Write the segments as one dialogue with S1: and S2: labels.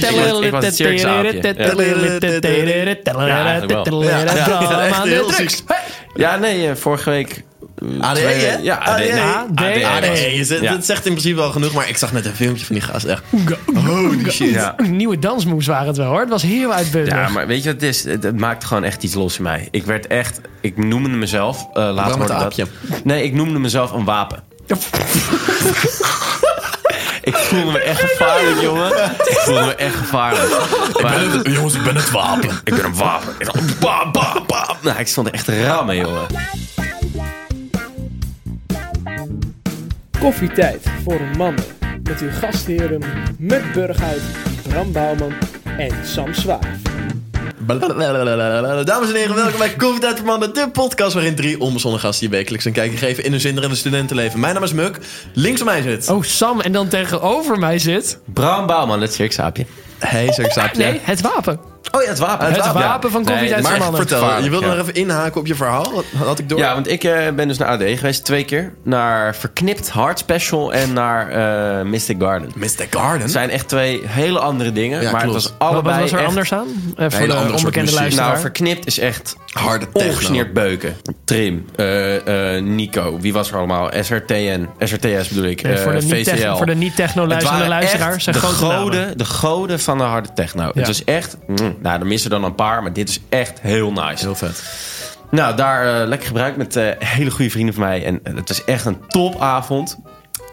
S1: was- ik was het circusaapje.
S2: Ja, echt heel ziek.
S1: Ja, nee, eh, vorige week... eh,
S2: ADE,
S1: twee-
S2: hè?
S1: Ja, E. ADE.
S2: ADE.
S1: ADE.
S2: Ah, nee, je zegt-
S1: Ja.
S2: dat zegt in principe wel genoeg, maar ik zag net een filmpje van die gast. Echt, holy shit.
S1: Ja.
S3: Een nieuwe dansmoes waren het wel hoor. Het was heel uitbundig.
S1: Ja, maar weet je wat het is? Het, het maakt gewoon echt iets los in mij. Ik werd echt... Ik noemde mezelf... eh later
S2: Brammend
S1: hoorde ik dat. Nee, ik noemde mezelf een wapen. ik voelde me echt gevaarlijk, jongen. Ik voelde me echt gevaarlijk. Maar-
S2: Jongens, ik ben het wapen.
S1: ik ben een wapen. Ik dacht, ba, ba, ba. Nou, ik stond er echt raar mee, jongen.
S4: Koffietijd voor mannen. Met uw gastheren Muk Burghuis, Bram Bouwman en Sam Zwaar.
S2: Blablabla. Dames en heren, welkom bij Koffietijd voor Mannen, de podcast waarin drie onbezonnen gasten je wekelijks een kijkje geven in hun zinderende studentenleven. Mijn naam is Muk, links van mij zit...
S3: Oh, Sam. En dan tegenover mij zit...
S1: Bram Bouwman, het cirksaapje.
S2: Hey, zo saapje.
S3: Nee, het wapen.
S1: Oh ja, het wapen.
S3: Het wapen van Koffietijd voor
S2: maar
S3: mannen.
S2: vertel, je wilde
S1: ja.
S2: nog even inhaken op je verhaal, Wat had ik door.
S1: Ja, want ik eh, ben dus naar AD geweest, twee keer. Naar Verknipt Hard Special en naar eh, Mystic Garden. Het
S2: Mr. Garden?
S1: zijn echt twee hele andere dingen,
S2: Ja,
S1: maar
S2: klopt.
S1: het was
S3: Wat
S1: allebei
S3: wat was er
S1: echt-
S3: anders aan? Eh, voor
S2: hele
S3: de
S2: andere soort
S3: onbekende
S2: muziek.
S3: luisteraar.
S1: Nou, Verknipt is echt
S2: Nou, Harde techno.
S1: ongesneerd beuken. Trim, eh, eh, Nico, wie was er allemaal? SRTN, SRTS bedoel ik,
S3: Nee, voor, de
S1: eh,
S3: niet
S1: VCL.
S3: techno, voor de niet techno
S1: Het
S3: luisterende
S1: waren echt
S3: luisteraar zijn
S1: de
S3: grote namen.
S1: goden, de goden van de harde techno. Het was echt, mm, nou, er missen dan een paar, maar dit is echt heel nice.
S2: Heel vet.
S1: Nou, daar eh, lekker gebruikt met eh, hele goede vrienden van mij. En eh, het was echt een topavond.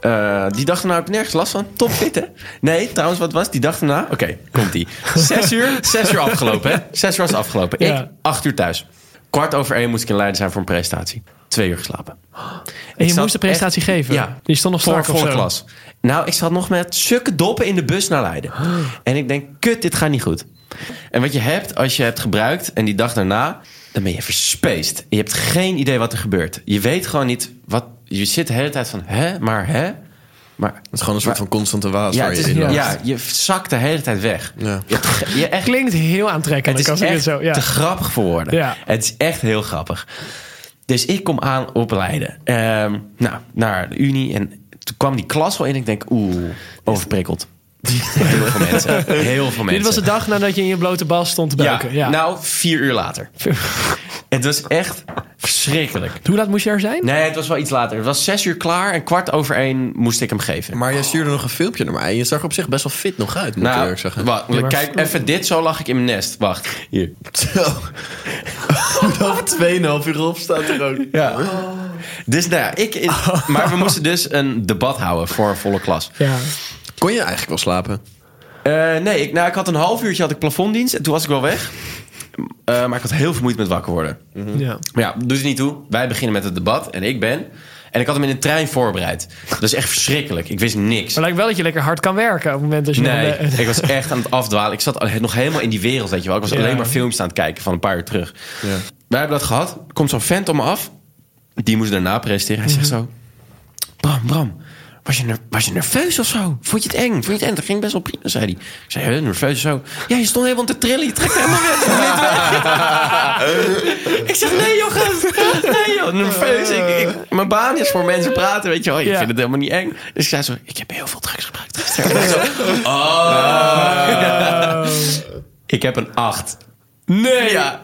S1: Eh, die dag erna heb ik nergens last van. Top fit, hè? Nee, trouwens, wat was die dag erna? Oké, komt die. Zes uur, zes uur afgelopen, hè? Zes uur was afgelopen. Ik,
S3: Ja.
S1: acht uur thuis. Kwart over één moest ik in Leiden zijn voor een presentatie. Twee uur geslapen.
S3: En je
S1: zat
S3: moest de presentatie
S1: echt-
S3: geven.
S1: Ja.
S3: Je stond nog
S1: Voor,
S3: strak of
S1: voor
S3: zo.
S1: klas. Nou, ik zat nog met sukke doppen in de bus naar Leiden.
S3: Ah.
S1: En ik denk, kut, dit gaat niet goed. En wat je hebt als je hebt gebruikt en die dag daarna, dan ben je verspeest. Je hebt geen idee wat er gebeurt. Je weet gewoon niet wat. Je zit de hele tijd van, hè, maar hè. Maar
S2: Het is gewoon een soort van constante waas
S1: ja,
S2: waar
S1: het
S2: je
S1: is,
S2: in
S1: ja.
S2: loopt.
S1: je zakt de hele tijd weg.
S2: Ja.
S1: Je, hebt ge- je echt
S3: Klinkt heel
S1: het
S3: aantrekkelijk
S1: is
S3: als ik
S1: echt
S3: het zo... Ja.
S1: te grappig voor woorden.
S3: Ja.
S1: Het is echt heel grappig. Dus ik kom aan op Leiden. Ehm, nou, naar de Unie. En toen kwam die klas al in. Ik denk, oeh, overprikkeld. Heel veel mensen. Heel veel
S3: Dit
S1: mensen.
S3: was de dag nadat je in je blote bal stond te buiken. Ja.
S1: Nou, vier uur later. het was echt verschrikkelijk.
S3: Hoe laat moest je er zijn?
S1: Nee, het was wel iets later. Het was zes uur klaar en kwart over één moest ik hem geven.
S2: Maar jij stuurde nog een filmpje naar mij en je zag er op zich best wel fit nog uit, moet ik
S1: nou,
S2: eerlijk zeggen.
S1: wa-
S3: Ja, maar-
S1: kijk, even dit, zo lag ik in mijn nest. Wacht, hier.
S2: Zo. Over 2,5 uur op staat er ook.
S1: Ja. Dus nou ja, ik, ik- maar we moesten dus een debat houden voor een volle klas.
S3: Ja.
S2: Kon je eigenlijk wel slapen?
S1: Eh, nee, ik, nou, ik had een half uurtje had ik plafonddienst en toen was ik wel weg. Eh, maar ik had heel veel moeite met wakker worden.
S3: ja.
S1: Maar ja, doet het niet toe. Wij beginnen met het debat en ik ben. En ik had hem in een trein voorbereid. Dat is echt verschrikkelijk. Ik wist niks.
S3: Maar lijkt wel dat je lekker hard kan werken op het moment dat je...
S1: Nee,
S3: dan, eh,
S1: ik was echt aan het afdwalen. Ik zat al- nog helemaal in die wereld, weet je wel. Ik was
S3: Ja.
S1: alleen maar films aan het kijken van een paar uur terug. Wij hebben dat gehad. Er komt zo'n vent om me af. Die moest daarna presteren. Hij zegt zo... Bram, Bram, was je, ner- was je nerveus of zo? Vond je het eng? Vond je het eng? Dat ging best wel prima, zei hij. Ik zei, "Huh, nerveus of zo? Ja, je stond helemaal te trillen. Je trekt helemaal weg. ik zeg, nee joh, gast. Nee joh, nerveus. Ik, ik- mijn baan is voor mensen praten, weet je wel. Ik
S3: Ja.
S1: vind het helemaal niet eng. Dus ik zei zo, ik heb heel veel drugs gebruikt gisteren. Ik heb een 8.
S3: nee.
S1: Ja.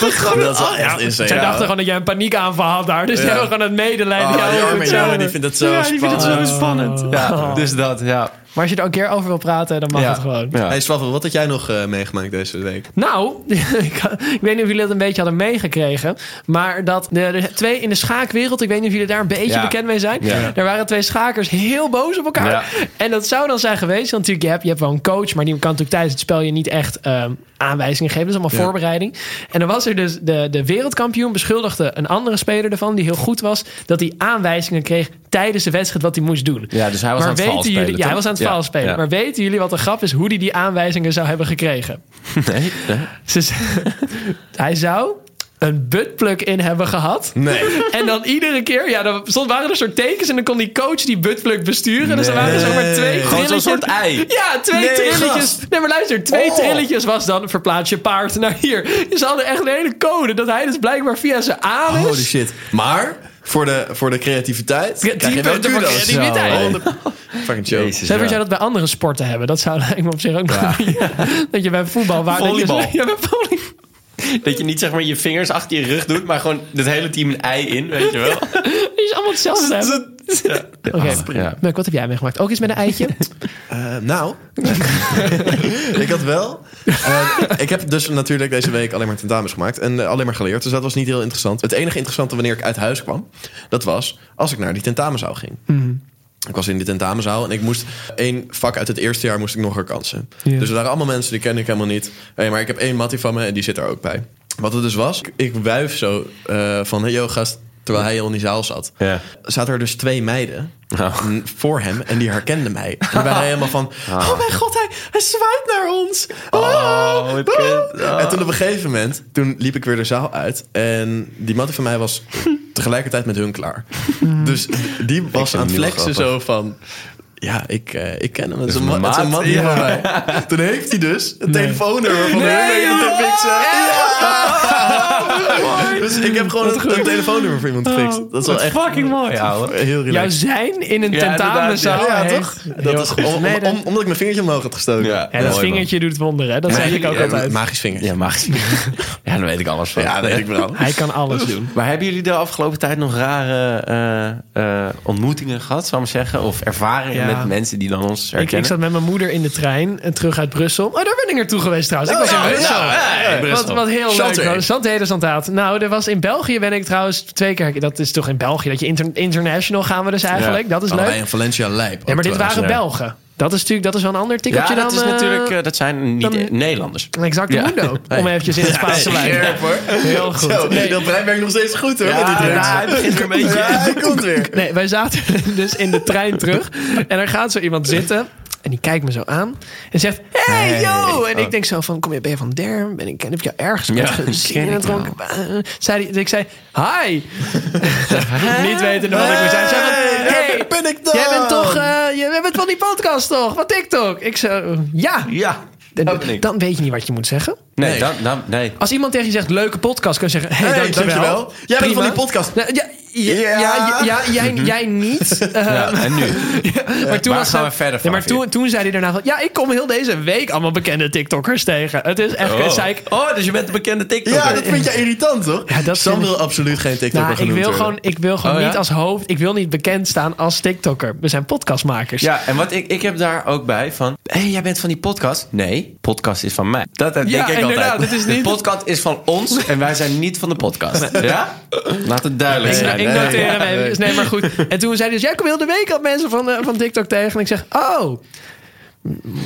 S2: dat is wel echt insane.
S3: Ah, Zij dachten gewoon dat jij een paniekaanval had daar. Dus die hebben gewoon het medelijden.
S2: Oh,
S1: Ah,
S3: Ja,
S2: die
S3: heel
S2: arme
S3: goed
S2: jongen,
S3: zo.
S2: die vindt dat zo spannend.
S1: spannend. Ja, dus dat, ja.
S3: Maar als je er ook een keer over wil praten, dan mag
S1: ja.
S3: het gewoon.
S1: Ja.
S2: Hey Swaffel, wat had jij nog eh, meegemaakt deze week?
S3: Nou, ik, ik weet niet of jullie dat een beetje hadden meegekregen. Maar dat de, de twee in de schaakwereld, ik weet niet of jullie daar een beetje
S1: Ja.
S3: bekend mee zijn.
S1: Ja.
S3: Er waren twee schakers heel boos op elkaar.
S1: Ja.
S3: En dat zou dan zijn geweest. Want natuurlijk, je hebt, je hebt wel een coach, maar die kan natuurlijk tijdens het spel je niet echt ehm, aanwijzingen geven. Dat is allemaal
S2: Ja.
S3: voorbereiding. En dan was er dus de, de wereldkampioen beschuldigde een andere speler ervan, die heel goed was, dat hij aanwijzingen kreeg tijdens de wedstrijd wat hij moest doen.
S1: Ja, dus hij was
S3: maar
S1: aan het
S3: weten
S1: vals spelen,
S3: jullie, Ja, hij
S1: toch?
S3: was aan het
S1: Ja.
S3: vals spelen.
S1: Ja.
S3: Maar weten jullie wat de grap is hoe hij die aanwijzingen zou hebben gekregen?
S1: Nee.
S3: Ze z- hij zou een buttplug in hebben gehad.
S2: Nee.
S3: En dan iedere keer, ja, dan stond, waren er soort tekens en dan kon die coach die buttplug besturen. Dus dan waren er zomaar twee
S2: Nee.
S3: trilletjes.
S1: Gewoon zo'n soort ei.
S3: Ja, twee
S1: Nee,
S3: trilletjes.
S1: gast.
S3: Nee, maar luister, twee
S1: Oh.
S3: trilletjes was dan verplaats je paard naar hier. Dus ze hadden echt een hele code dat hij dus blijkbaar via zijn anus...
S2: Holy shit. Maar voor de, voor de creativiteit.
S3: Ja,
S2: Krijg je
S3: 10
S2: wel
S3: punten voor
S2: kudos.
S3: creativiteit.
S2: Zo. Fucking joke.
S1: Jezus,
S3: Zou
S1: ja.
S3: je dat bij andere sporten hebben? Dat zou lijkt me op zich ook nog niet. Dat je bij voetbal... Waar
S1: Volleybal.
S3: Dat je, ja, bij volleybal.
S1: Dat je niet zeg maar je vingers achter je rug doet, maar gewoon het hele team een ei in, weet je wel.
S3: Dat is allemaal hetzelfde hebben.
S1: Ja.
S3: Oké,
S1: ja.
S3: Muk, wat heb jij meegemaakt? Ook iets met een eitje?
S2: Eh, nou, ik had wel. eh, ik heb dus natuurlijk deze week alleen maar tentamens gemaakt en eh, alleen maar geleerd. Dus dat was niet heel interessant. Het enige interessante wanneer ik uit huis kwam, dat was als ik naar die tentamenzaal ging. Ik was in die tentamenzaal en ik moest één vak uit het eerste jaar moest ik nog herkansen.
S3: Ja.
S2: Dus er waren allemaal mensen die ken ik helemaal niet. Hey, maar ik heb één mattie van me en die zit er ook bij. Wat het dus was, ik- ik wuif zo eh, van hey, yo gast, terwijl hij al in die zaal zat.
S1: Ja.
S2: Zaten er dus twee meiden
S1: Oh.
S2: n- voor hem en die herkenden mij. En die waren helemaal van, oh mijn god, hij, hij zwaait naar ons. Ah,
S1: Ah. Oh, wat
S2: ah.
S1: kut. Ah.
S2: En toen op een gegeven moment, toen liep ik weer de zaal uit. En die mattie van mij was tegelijkertijd met hun klaar. Dus die was
S1: hem
S2: aan het
S1: nu wel
S2: flexen
S1: grappig.
S2: zo van... Ja, ik, eh, ik ken hem. Het is
S1: is
S2: een ma-
S1: een
S2: het is een
S1: maat.
S2: mattie
S1: Ja.
S2: van mij. Toen heeft hij dus een telefoonnummer van hun weten te fixen. Ja. Dus ik heb gewoon een, een telefoonnummer voor iemand gefixt. Dat is wel echt
S1: fucking mooi, ouwe.
S2: Eh, heel relaxed.
S3: Jouw zijn in een
S1: Oh. Ja,
S3: tentamenzaal
S2: Ja,
S3: heeft-
S2: toch? Dat is, om,
S3: Nee,
S2: om-
S3: dat-
S2: om- omdat ik mijn vingertje omhoog had gestoken.
S1: Ja.
S3: Ja, dat
S1: Mooi,
S3: vingertje doet het wonder, hè? Dat zeg ik ook
S2: Ja,
S3: altijd.
S2: Magisch vingertje.
S1: Ja, mag. Ja, daar weet ik alles van.
S2: Ja, dat weet ik wel.
S3: Hij kan alles doen.
S1: Maar hebben jullie de afgelopen tijd nog rare eh, eh, ontmoetingen gehad, zou ik maar zeggen? Of ervaringen
S3: Ja.
S1: met mensen die dan ons
S3: Ik, ik
S1: herkennen?
S3: zat met mijn moeder in de trein en terug uit Brussel. Oh, daar ben ik naartoe geweest trouwens.
S1: Oh,
S3: Ik was in Brussel. Wat, wat heel
S2: Santé.
S3: leuk was. Santé de Santaat. Nou, er was in België ben ik trouwens twee keer... Dat is toch in België dat je inter- international gaan we dus eigenlijk. Dat is
S2: Oh,
S3: leuk.
S2: wij in Valencia lijp.
S3: Ja, maar dit waren
S1: ja.
S3: Belgen. Dat is natuurlijk dat is wel een ander
S1: ja,
S3: tikkeltje dan...
S1: dat, is
S3: eh,
S1: natuurlijk, eh, dat zijn niet
S3: dan-
S1: eh, Nederlanders.
S3: Exact
S1: Ja.
S3: mundo. Om eventjes in het Spaans te blijven. Heel goed.
S2: Zo,
S3: Nee. nou,
S2: dat brein werkt nog steeds goed hoor. met dit
S1: ja,
S2: reeks.
S1: hij begint weer een beetje.
S2: Ja, hij komt weer.
S3: Nee, wij zaten dus in de trein terug. En er gaat zo iemand zitten. En die kijkt me zo aan. En zegt, hey,
S2: Hey.
S3: yo! En ik denk zo van, kom je, ben je van Derm? Ben ik, heb ik jou ergens
S1: Ja,
S3: ooit gezien?
S1: ken
S3: En
S1: ik
S3: toen- zei die, ik zei, hi! Niet wetende wat ik moet zijn. Zei van,
S2: Hey,
S3: hey,
S2: daar ben ik dan?
S3: jij bent toch, eh, je bent van die podcast toch? Van TikTok? Ik zo, ja!
S1: Ja,
S3: En
S1: dat ben ik.
S3: dan weet je niet wat je moet zeggen.
S1: Nee,
S2: Nee.
S1: Dan, dan, nee.
S3: Als iemand tegen je zegt, leuke podcast, kun je zeggen, hey,
S2: Hey,
S3: dankjewel.
S2: dankjewel. Jij bent
S3: Prima.
S2: van die podcast.
S3: Nou, ja, ja,
S2: Ja.
S3: ja, ja, jij, jij niet. Eh,
S1: Ja, en nu?
S3: maar toen
S1: waar
S3: was
S1: gaan
S3: hij-
S1: we verder
S3: Nee,
S1: vanaf
S3: maar toen,
S1: hier?
S3: toen zei hij daarna van... Ja, ik kom heel deze week allemaal bekende TikTokkers tegen. Het is echt...
S1: Oh.
S3: Zei ik,
S1: oh, dus je bent een bekende TikToker.
S2: Ja, dat vind je irritant toch?
S3: Ja, dat
S2: Sam
S3: vind ik-
S2: wil absoluut geen TikToker
S3: nou, ik
S2: genoemd
S3: wil
S2: worden.
S3: gewoon, ik wil gewoon
S1: Oh, ja?
S3: niet als hoofd... Ik wil niet bekend staan als TikTokker. We zijn podcastmakers.
S1: Ja, en wat ik, ik heb daar ook bij van... Hé, hey, jij bent van die podcast? Nee, podcast is van mij. Dat denk
S3: Ja,
S1: ik altijd.
S3: inderdaad, het is
S1: De
S3: niet-
S1: podcast is van ons en wij zijn niet van de podcast. Ja? Laat het duidelijk
S3: Ik,
S1: zijn.
S3: ik
S2: nee,
S3: noteer
S2: nee,
S3: hem even.
S2: nee.
S3: Dus nee, maar goed. En toen zei hij dus... Ja, ik kom heel de week al mensen van, eh, van TikTok tegen. En ik zeg... Oh,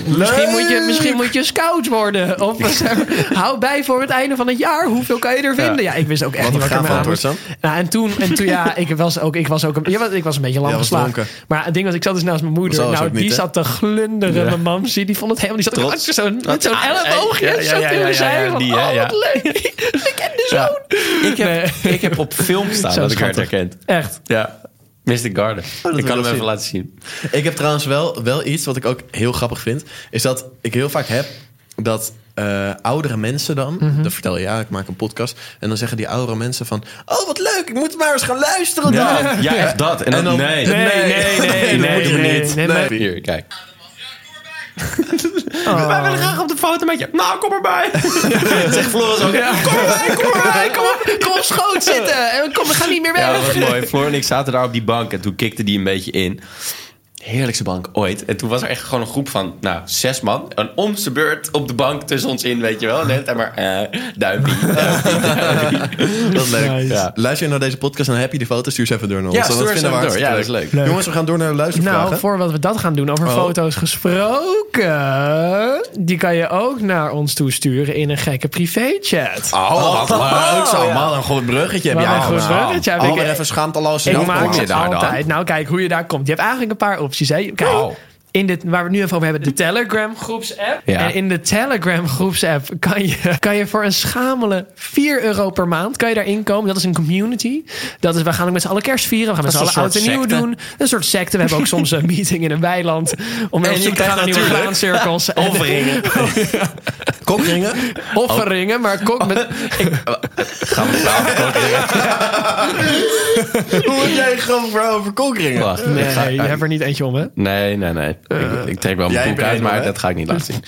S3: misschien moet, je, misschien moet je scout worden. Of zeg maar, hou bij voor het einde van het jaar. Hoeveel kan je er vinden? Ja, ik wist ook echt
S2: Wat
S3: niet
S2: een
S3: wat ik
S2: gaaf
S3: ermee aan
S2: antwoord,
S3: moest.
S2: Sam.
S3: Nou, en toen, en toen ja, ik was ook, ik was ook een, ja, wat- ik was een beetje lam
S2: Jij was
S3: geslagen.
S2: dronken.
S3: Maar het ding was, ik zat dus naast mijn moeder.
S2: Dat was
S3: Nou,
S2: ook
S3: die
S2: niet, hè?
S3: zat te glunderen. Mijn mam, zie, die vond het helemaal, die zat ook
S1: Trots.
S3: zo, met zo'n
S1: Ah,
S3: elleboogje.
S1: ja, ja,
S3: zo
S1: ja,
S3: tegen
S1: ja, ja,
S3: zij,
S1: ja,
S3: van,
S1: die, hè,
S3: oh,
S1: ja.
S3: wat leuk. ik ken de
S1: Ja.
S3: zoon.
S1: Ik, heb, eh, ik heb op film staan
S3: Zo
S1: dat ik werd
S3: schattig.
S1: herkend.
S3: Echt.
S1: Ja. Mystic Garden.
S2: wil
S1: ik
S2: ik
S1: kan hem
S2: zien.
S1: even laten zien.
S2: Ik heb trouwens wel, wel iets wat ik ook heel grappig vind. Is dat ik heel vaak heb dat eh, oudere mensen dan... Dan vertel je, ja, ik maak een podcast. En dan zeggen die oudere mensen van... Oh, wat leuk, ik moet maar eens gaan luisteren dan.
S1: Ja, ja echt dat. En dan,
S2: En dan-
S1: nee.
S2: Nee, nee, nee,
S1: dat moet je
S3: nee,
S1: niet.
S3: nee,
S2: nee.
S1: Hier, kijk. Wij willen graag op de foto met je. Nou, kom erbij. Zegt Floris ook. Kom erbij, kom erbij, kom
S3: Kom op schoot zitten. En Kom, we gaan niet meer
S1: Ja,
S3: weg.
S1: dat was mooi. Floor en ik zaten daar op die bank en toen kikte die een beetje in. Heerlijkste bank ooit. En toen was er echt gewoon een groep van, nou, zes man. En om zijn beurt op de bank tussen ons in, weet je wel. Net en maar, eh, duimpie. duimpie, duimpie.
S2: Dat is leuk.
S3: Nice.
S2: Ja. Luister je naar deze podcast en heb je die foto's, stuur ze even door naar ons.
S1: Ja,
S2: Want
S1: stuur
S2: dat
S1: ze
S2: vinden we
S1: even door.
S2: hartstikke
S1: Ja, dat is leuk.
S2: Jongens, we gaan door naar de luistervragen.
S3: Nou, voordat we dat gaan doen, over
S2: Oh.
S3: foto's gesproken. Die kan je ook naar ons toesturen in een gekke privéchat.
S1: Oh,
S2: Oh,
S1: wat leuk.
S2: zo, man, een goed bruggetje heb
S3: Wat
S2: je
S3: een goed
S2: allemaal.
S3: bruggetje heb ik.
S2: Alweer even schaamteloos.
S3: Ik
S2: zelf
S3: maak
S2: gemaakt.
S1: je
S3: het
S1: daar dan?
S3: altijd. Nou, kijk hoe je daar komt. Je hebt eigenlijk een paar opties. Hè? Kijk,
S1: Wauw.
S3: in dit, waar we het nu even over hebben, de Telegram groepsapp.
S1: Ja.
S3: En in de Telegram groepsapp kan je, kan je voor een schamele 4 euro per maand kan je daarin komen. Dat is een community. Dat is, we gaan ook met z'n allen kerst vieren. We gaan met z'n
S1: Dat
S3: allen
S1: is
S3: oud
S1: een
S3: en nieuw
S1: soort
S3: doen. Een soort secte. We hebben ook soms een meeting in een weiland. Om
S1: je
S3: even te
S1: krijgt
S3: gaan
S1: Oh,
S3: naar nieuwe
S1: natuurlijk
S3: graancirkels. En-
S1: Overringen.
S2: Kokringen?
S1: oh.
S3: Offeringen, maar kok met...
S1: Gaan we klaar
S2: Hoe heb jij een grappig verhaal over kokringen?
S1: Wacht. ik ga-
S3: Nee, je hebt er niet eentje om, hè?
S1: Nee, nee, nee. ik, ik trek wel
S2: Eh, jij
S1: mijn boek
S2: bent
S1: uit,
S2: wel,
S1: maar
S2: hè?
S1: dat ga ik niet laten zien.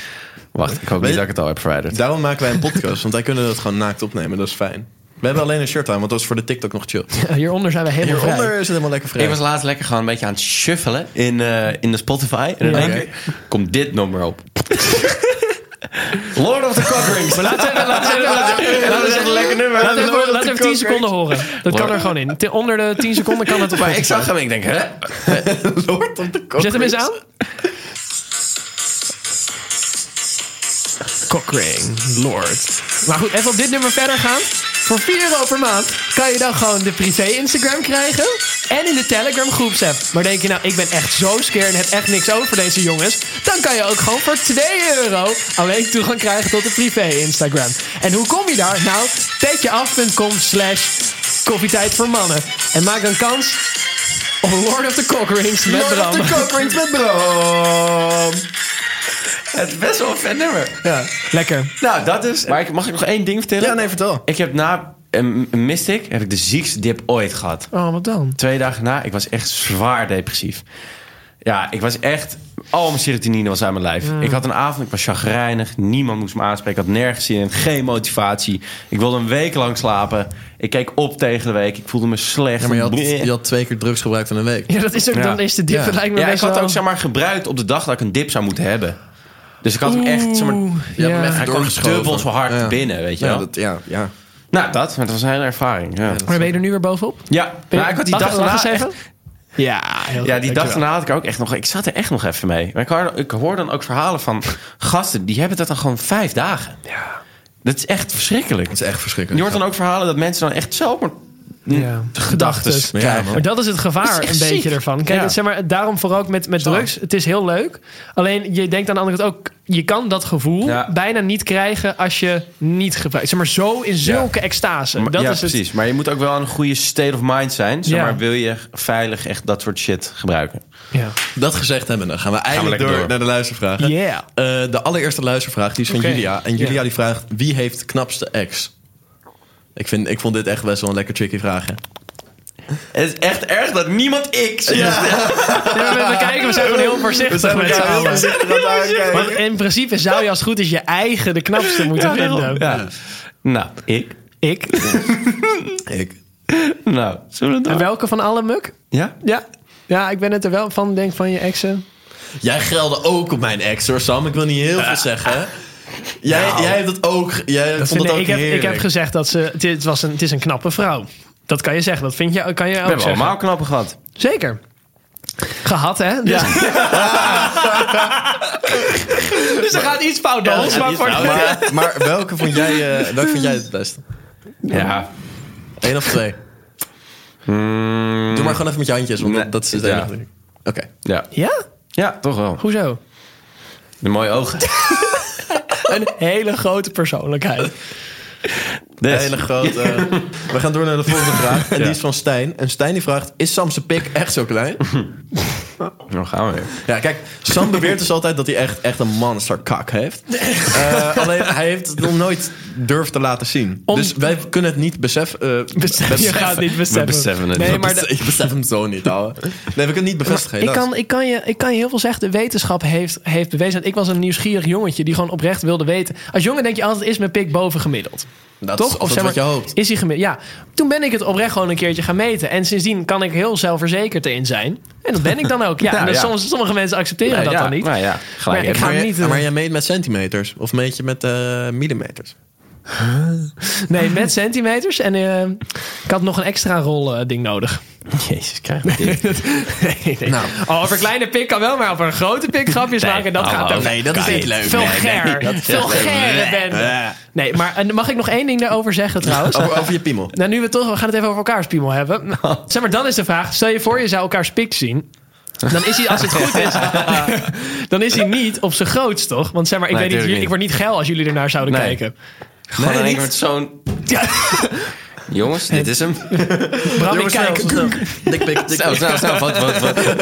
S1: Wacht, ik hoop niet
S2: je-
S1: dat ik het al heb verwijderd.
S2: Daarom maken wij een podcast, want wij kunnen dat gewoon naakt opnemen. Dat is fijn. We hebben alleen een shirt aan, want dat is voor de TikTok nog chill.
S3: Hieronder zijn we helemaal
S2: Hieronder
S3: vrij.
S2: is het helemaal lekker vrij.
S1: Ik was laatst lekker gewoon een beetje aan het shuffelen in, eh, in de Spotify. En in
S3: Ja.
S1: één keer komt dit nummer op. Lord of the Cock Rings.
S3: Laten
S1: Dat is echt een lekker nummer.
S3: Laat even, laat even 10 seconden horen. Dat kan er gewoon in. Ten- Onder de 10 seconden kan het op.
S1: Maar ik zag hem en ik denk, hè?
S2: Lord of the Cock
S3: Zet hem eens
S2: Rings.
S3: aan. Cockring, Lord. Maar goed, even op dit nummer verder gaan. Voor 4 euro per maand kan je dan gewoon de privé Instagram krijgen. En in de Telegram groepsapp. Maar denk je nou, ik ben echt zo skeer en heb echt niks over deze jongens. Dan kan je ook gewoon voor 2 euro alleen toegang krijgen tot de privé Instagram. En hoe kom je daar? Nou, takejeaf.com slash koffietijd voor mannen. En maak dan kans op Lord of the Cock Rings met
S2: Lord of
S3: Bram.
S2: the Cock Rings met Bram.
S1: Het is best wel een vet nummer.
S2: Ja.
S3: Lekker.
S1: Nou, dat is... Maar ik- mag ik nog één ding vertellen?
S2: ja, nee, vertel.
S1: Ik heb na een een Mystic heb ik de ziekste dip ooit gehad.
S3: Oh, wat dan?
S1: Twee dagen na, ik was echt zwaar depressief. Ja, ik was echt... Al mijn serotonine was aan mijn lijf.
S2: Mm.
S1: Ik had een avond, ik was chagrijnig. Niemand moest me aanspreken. Ik had nergens zin in. Geen motivatie. Ik wilde een week lang slapen. Ik keek op tegen de week. Ik voelde me slecht.
S2: Ja, maar je had,
S1: Bleh.
S2: je had twee keer drugs gebruikt in een week.
S3: Ja, dat is ook,
S1: Ja.
S3: dan is de dip
S2: Ja.
S3: het lijkt me
S1: Ja, ik
S3: best
S1: had
S3: wel...
S1: ook zeg maar, gebruikt op de dag dat ik een dip zou moeten hebben. Dus ik had hem echt... Zeg maar,
S2: Je hebt hem
S3: ja.
S2: echt
S1: hij kwam
S2: doorgeschoven.
S1: dubbel zo hard
S2: Ja.
S1: binnen, weet je
S2: Ja,
S1: wel.
S2: dat, ja, ja.
S1: Nou, dat. Maar dat was een hele ervaring. Ja,
S3: Maar ben je er nu weer bovenop?
S1: ja. Nou, ik had die
S3: Mag-
S1: dag
S3: mag
S1: daarna
S3: ik zeggen?
S1: echt-
S3: Ja, heel goed,
S1: Ja, die dag
S3: dankjewel.
S1: daarna had ik ook echt nog... Ik zat er echt nog even mee. Maar ik hoor, ik hoor dan ook verhalen van gasten... die hebben dat dan gewoon vijf dagen.
S3: Ja.
S1: Dat is echt verschrikkelijk.
S2: Dat is echt
S1: Je
S2: verschrikkelijk.
S1: hoort dan ook verhalen dat mensen dan echt zelf... maar-
S3: Ja.
S1: Gedachtes.
S3: Gedachtes.
S2: Ja, man.
S3: Maar dat is het
S1: Dat
S3: gevaar
S1: is echt
S3: een beetje
S1: ziek.
S3: ervan. Kijk,
S1: Ja.
S3: zeg maar, daarom vooral ook met, met
S1: Zo.
S3: drugs. Het is heel leuk. Alleen je denkt aan de andere kant ook... je kan dat gevoel
S1: Ja.
S3: bijna niet krijgen als je niet gebruikt. Zeg maar, zo in zulke extase.
S1: Maar-
S3: Dat
S1: ja,
S3: is het.
S1: precies. Maar je moet ook wel een goede state of mind zijn. Zeg
S3: Ja.
S1: maar, wil je veilig echt dat soort shit gebruiken?
S3: Ja.
S2: Dat gezegd hebben, dan gaan we eindelijk
S1: lekker
S2: door,
S1: door.
S2: naar de luistervraag.
S3: Yeah.
S2: Eh, de allereerste luistervraag die is van
S3: Oké.
S2: Julia. En Julia
S3: Ja.
S2: die vraagt: wie heeft de knapste ex? Ik, vind, ik vond dit echt best wel een lekker tricky vraag. Hè?
S1: Het is echt erg dat niemand ik... zegt.
S3: Ja, we, we kijken, we zijn gewoon heel voorzichtig met z'n allen. Want in principe zou je als het goed is je eigen de knapste moeten vinden.
S1: Ja. Nou, ik.
S3: Ik?
S2: Ik.
S1: Nou, zullen we dat
S3: En
S1: doen?
S3: welke van alle muk?
S1: Ja?
S3: Ja. Ja, ik ben het er wel van, denk van je exen.
S2: Jij gelde ook op mijn ex hoor, Sam. Ik wil niet heel veel zeggen. Jij,
S1: Nou.
S2: jij hebt dat ook. Jij vond
S3: Nee,
S2: dat ook
S3: ik, heb, ik
S2: heerlijk.
S3: heb gezegd dat ze. Het, het was een, het is een knappe vrouw. Dat kan je zeggen. Dat vind je, kan je
S1: We
S3: ook
S1: hebben
S3: zeggen.
S1: allemaal knappen gehad.
S3: Zeker. Gehad, hè? Dus, dus er gaat iets fout bij
S1: Ja,
S3: ons.
S1: er gaat
S3: Maar
S1: iets
S3: voor
S1: fout,
S2: nou, maar, maar welke vond jij, eh, welke vond jij het beste?
S1: Ja.
S2: Eén of twee? Doe maar gewoon even met je handjes, want
S1: Hmm. Nee,
S2: dat is het
S1: ja.
S2: enige. Oké.
S1: Ja.
S3: Ja?
S1: Ja, toch wel.
S3: Hoezo?
S1: De mooie ogen.
S3: Een hele grote persoonlijkheid.
S1: Des.
S2: Hele grote. We gaan door naar de volgende vraag. En
S1: Ja.
S2: die is van Stijn. En Stijn die vraagt: Is Sam's pik echt zo klein?
S1: Nou gaan we weer.
S2: Ja, kijk, Sam beweert dus altijd dat hij echt, echt een monster kak heeft. Eh, alleen hij heeft het nog nooit durven te laten zien.
S3: Om-
S2: Dus wij kunnen het niet beseffen. eh,
S3: Besef, je gaat niet beseffen.
S1: beseffen het
S3: nee,
S1: niet.
S3: maar de-
S2: Ik besef hem zo niet, ouwe. Nee, we kunnen het niet bevestigen.
S3: ik,
S2: helaas.
S3: kan, ik, kan je, ik kan je heel veel zeggen. De wetenschap heeft, heeft bewezen. Want ik was een nieuwsgierig jongetje die gewoon oprecht wilde weten. Als jongen denk je altijd, is mijn pik boven gemiddeld?
S2: dat
S3: Toch?
S2: is of wat je hoopt.
S3: Is hij gemiddeld? Ja. Toen ben ik het oprecht gewoon een keertje gaan meten. En sindsdien kan ik heel zelfverzekerd in zijn. En dat ben ik dan ook. Ja,
S1: Nou,
S3: en dat
S1: ja.
S3: soms, sommige mensen accepteren
S1: Ja,
S3: dat
S1: ja,
S3: dan niet.
S1: Nou ja,
S3: Maar
S1: gelijk.
S3: ik ga
S2: maar,
S3: hem
S2: je-
S3: niet... eh,
S2: maar jij meet met centimeters. Of meet je met eh, millimeters.
S3: Nee, met centimeters. En eh, ik had nog een extra rol eh, ding nodig.
S1: Jezus, krijg ik dit.
S3: Nee, nee.
S2: Nou.
S3: Oh, over kleine pik kan wel, maar over een grote pik grapjes
S1: Nee,
S3: maken, dat
S1: hallo.
S3: gaat ook
S1: Nee,
S2: oh, dat is niet leuk.
S3: Veel ger. veel gerre bende. Nee, maar en mag ik nog één ding daarover zeggen trouwens?
S2: Over, over je piemel.
S3: Nou, nu we toch, we gaan het even over elkaars piemel hebben.
S1: Nou.
S3: Zeg maar, dan is de vraag: stel je voor, je zou elkaars pik zien. Dan is hij, als het goed is, dan is hij niet op zijn grootst, toch? Want zeg maar, ik,
S1: Nee,
S3: weet niet,
S1: tuurlijk
S3: jullie- ik word niet geil als jullie ernaar zouden
S1: Nee.
S3: kijken.
S1: Gewoon
S2: Nee,
S1: in één
S2: niet.
S1: keer met zo'n... Jongens, dit is hem.
S3: Bram, ik
S2: Jongens,
S3: kijk.
S2: snel, snel, snel. Dik pik, dik
S1: Snel,
S2: pik.
S1: snel, snel. Wat, wat, wat.
S2: Meten,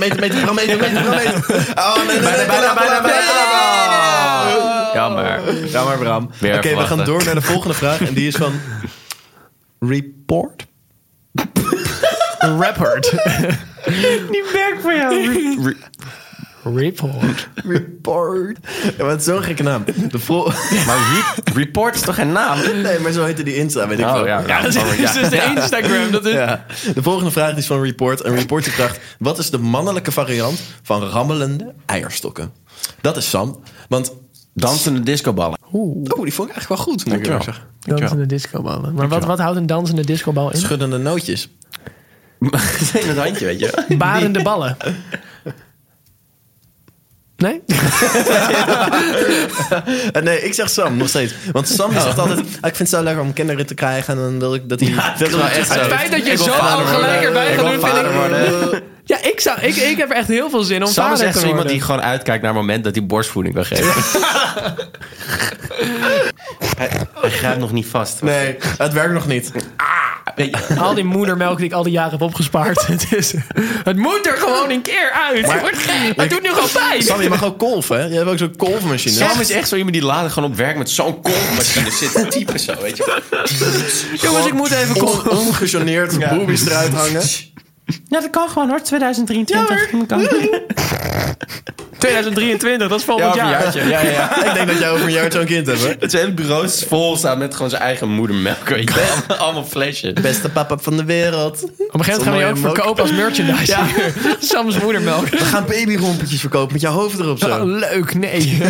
S2: meten, meten. Bram, meten, meten, Bram, meten. Oh, nee, nee, nee,
S1: Bijna, bijna, bijna, bijna.
S2: nee.
S1: Oh. Jammer.
S2: Jammer, Bram.
S1: Weer
S2: Oké, we gaan
S1: verwachten.
S2: door naar de volgende vraag. En die is van... Report? Rapport.
S3: Report.
S2: Report. Ja, wat zo'n gekke naam. De vol-
S1: Maar re- report is toch geen naam?
S2: nee, maar zo heette die Insta, weet ik
S1: Oh
S2: wel.
S1: ja.
S3: Oh, Ja, dat is dus de Instagram. Dat is...
S2: Ja. De volgende vraag is van Report. En Report die vraagt... Wat is de mannelijke variant van rammelende eierstokken? Dat is Sam. Want...
S1: Dansende discoballen.
S2: Oeh, die vond ik eigenlijk wel goed, moet ik
S1: Dankjewel.
S2: eerlijk zeggen.
S3: Dansende discoballen. Maar wat, wat houdt een dansende discobal in?
S2: Schuddende nootjes.
S1: In het handje, weet je.
S3: Barende ballen. Nee?
S2: Eh, nee, ik zeg Sam nog steeds. Want Sam
S3: Oh.
S2: die zegt altijd... "Ah, ik vind het zo lekker om kinderen te krijgen. En dan wil ik dat hij...
S1: dat is wel echt zo.
S3: Het feit dat je
S1: Ik wil
S3: zo
S1: vader
S3: al Oh, gelijk
S1: worden.
S3: erbij
S1: Ik
S3: gaat
S1: wil
S3: doen, vind
S1: vader
S3: ik...
S1: worden.
S3: Ja, ik, zou, ik, ik heb er echt heel veel zin om
S1: Sam is
S3: vader
S1: echt
S3: te
S1: zo iemand
S3: worden.
S1: die gewoon uitkijkt naar het moment dat hij borstvoeding wil geven. hij, hij grijpt nog niet vast.
S2: Nee, het werkt nog niet.
S1: Weet je,
S3: Al die moedermelk die ik al die jaren heb opgespaard. Het, is, het moet er gewoon een keer uit.
S2: Maar-
S3: het wordt gek. Het doet nu gewoon pijn.
S2: Sam, je mag ook kolven, hè? Je hebt ook zo'n kolvenmachine.
S1: Sam is echt zo iemand die later gewoon op werk met zo'n kolfmachine zit te typen zo, weet je.
S3: Jongens, ik moet even komen.
S2: On, ongegeneerd boobies eruit hangen.
S3: Ja, dat kan gewoon hoor. 2023. 2023, dat is volgend
S1: Ja,
S3: jaar.
S1: verjaartje. Ja, ja, ja.
S2: Ik denk dat jij over een jaar zo'n kind hebt, hè?
S1: Het hele bureau is vol staan met gewoon zijn eigen moedermelk. weet je. Allemaal- Allemaal flesjes.
S2: Beste papa van de
S3: Op
S2: wereld.
S3: een gegeven moment gaan we je ook
S2: Mooie melk.
S3: verkopen als merchandise. Sam's moedermelk.
S2: We gaan babyrompetjes verkopen met jouw hoofd erop
S3: Oh,
S2: zo.
S3: leuk, nee.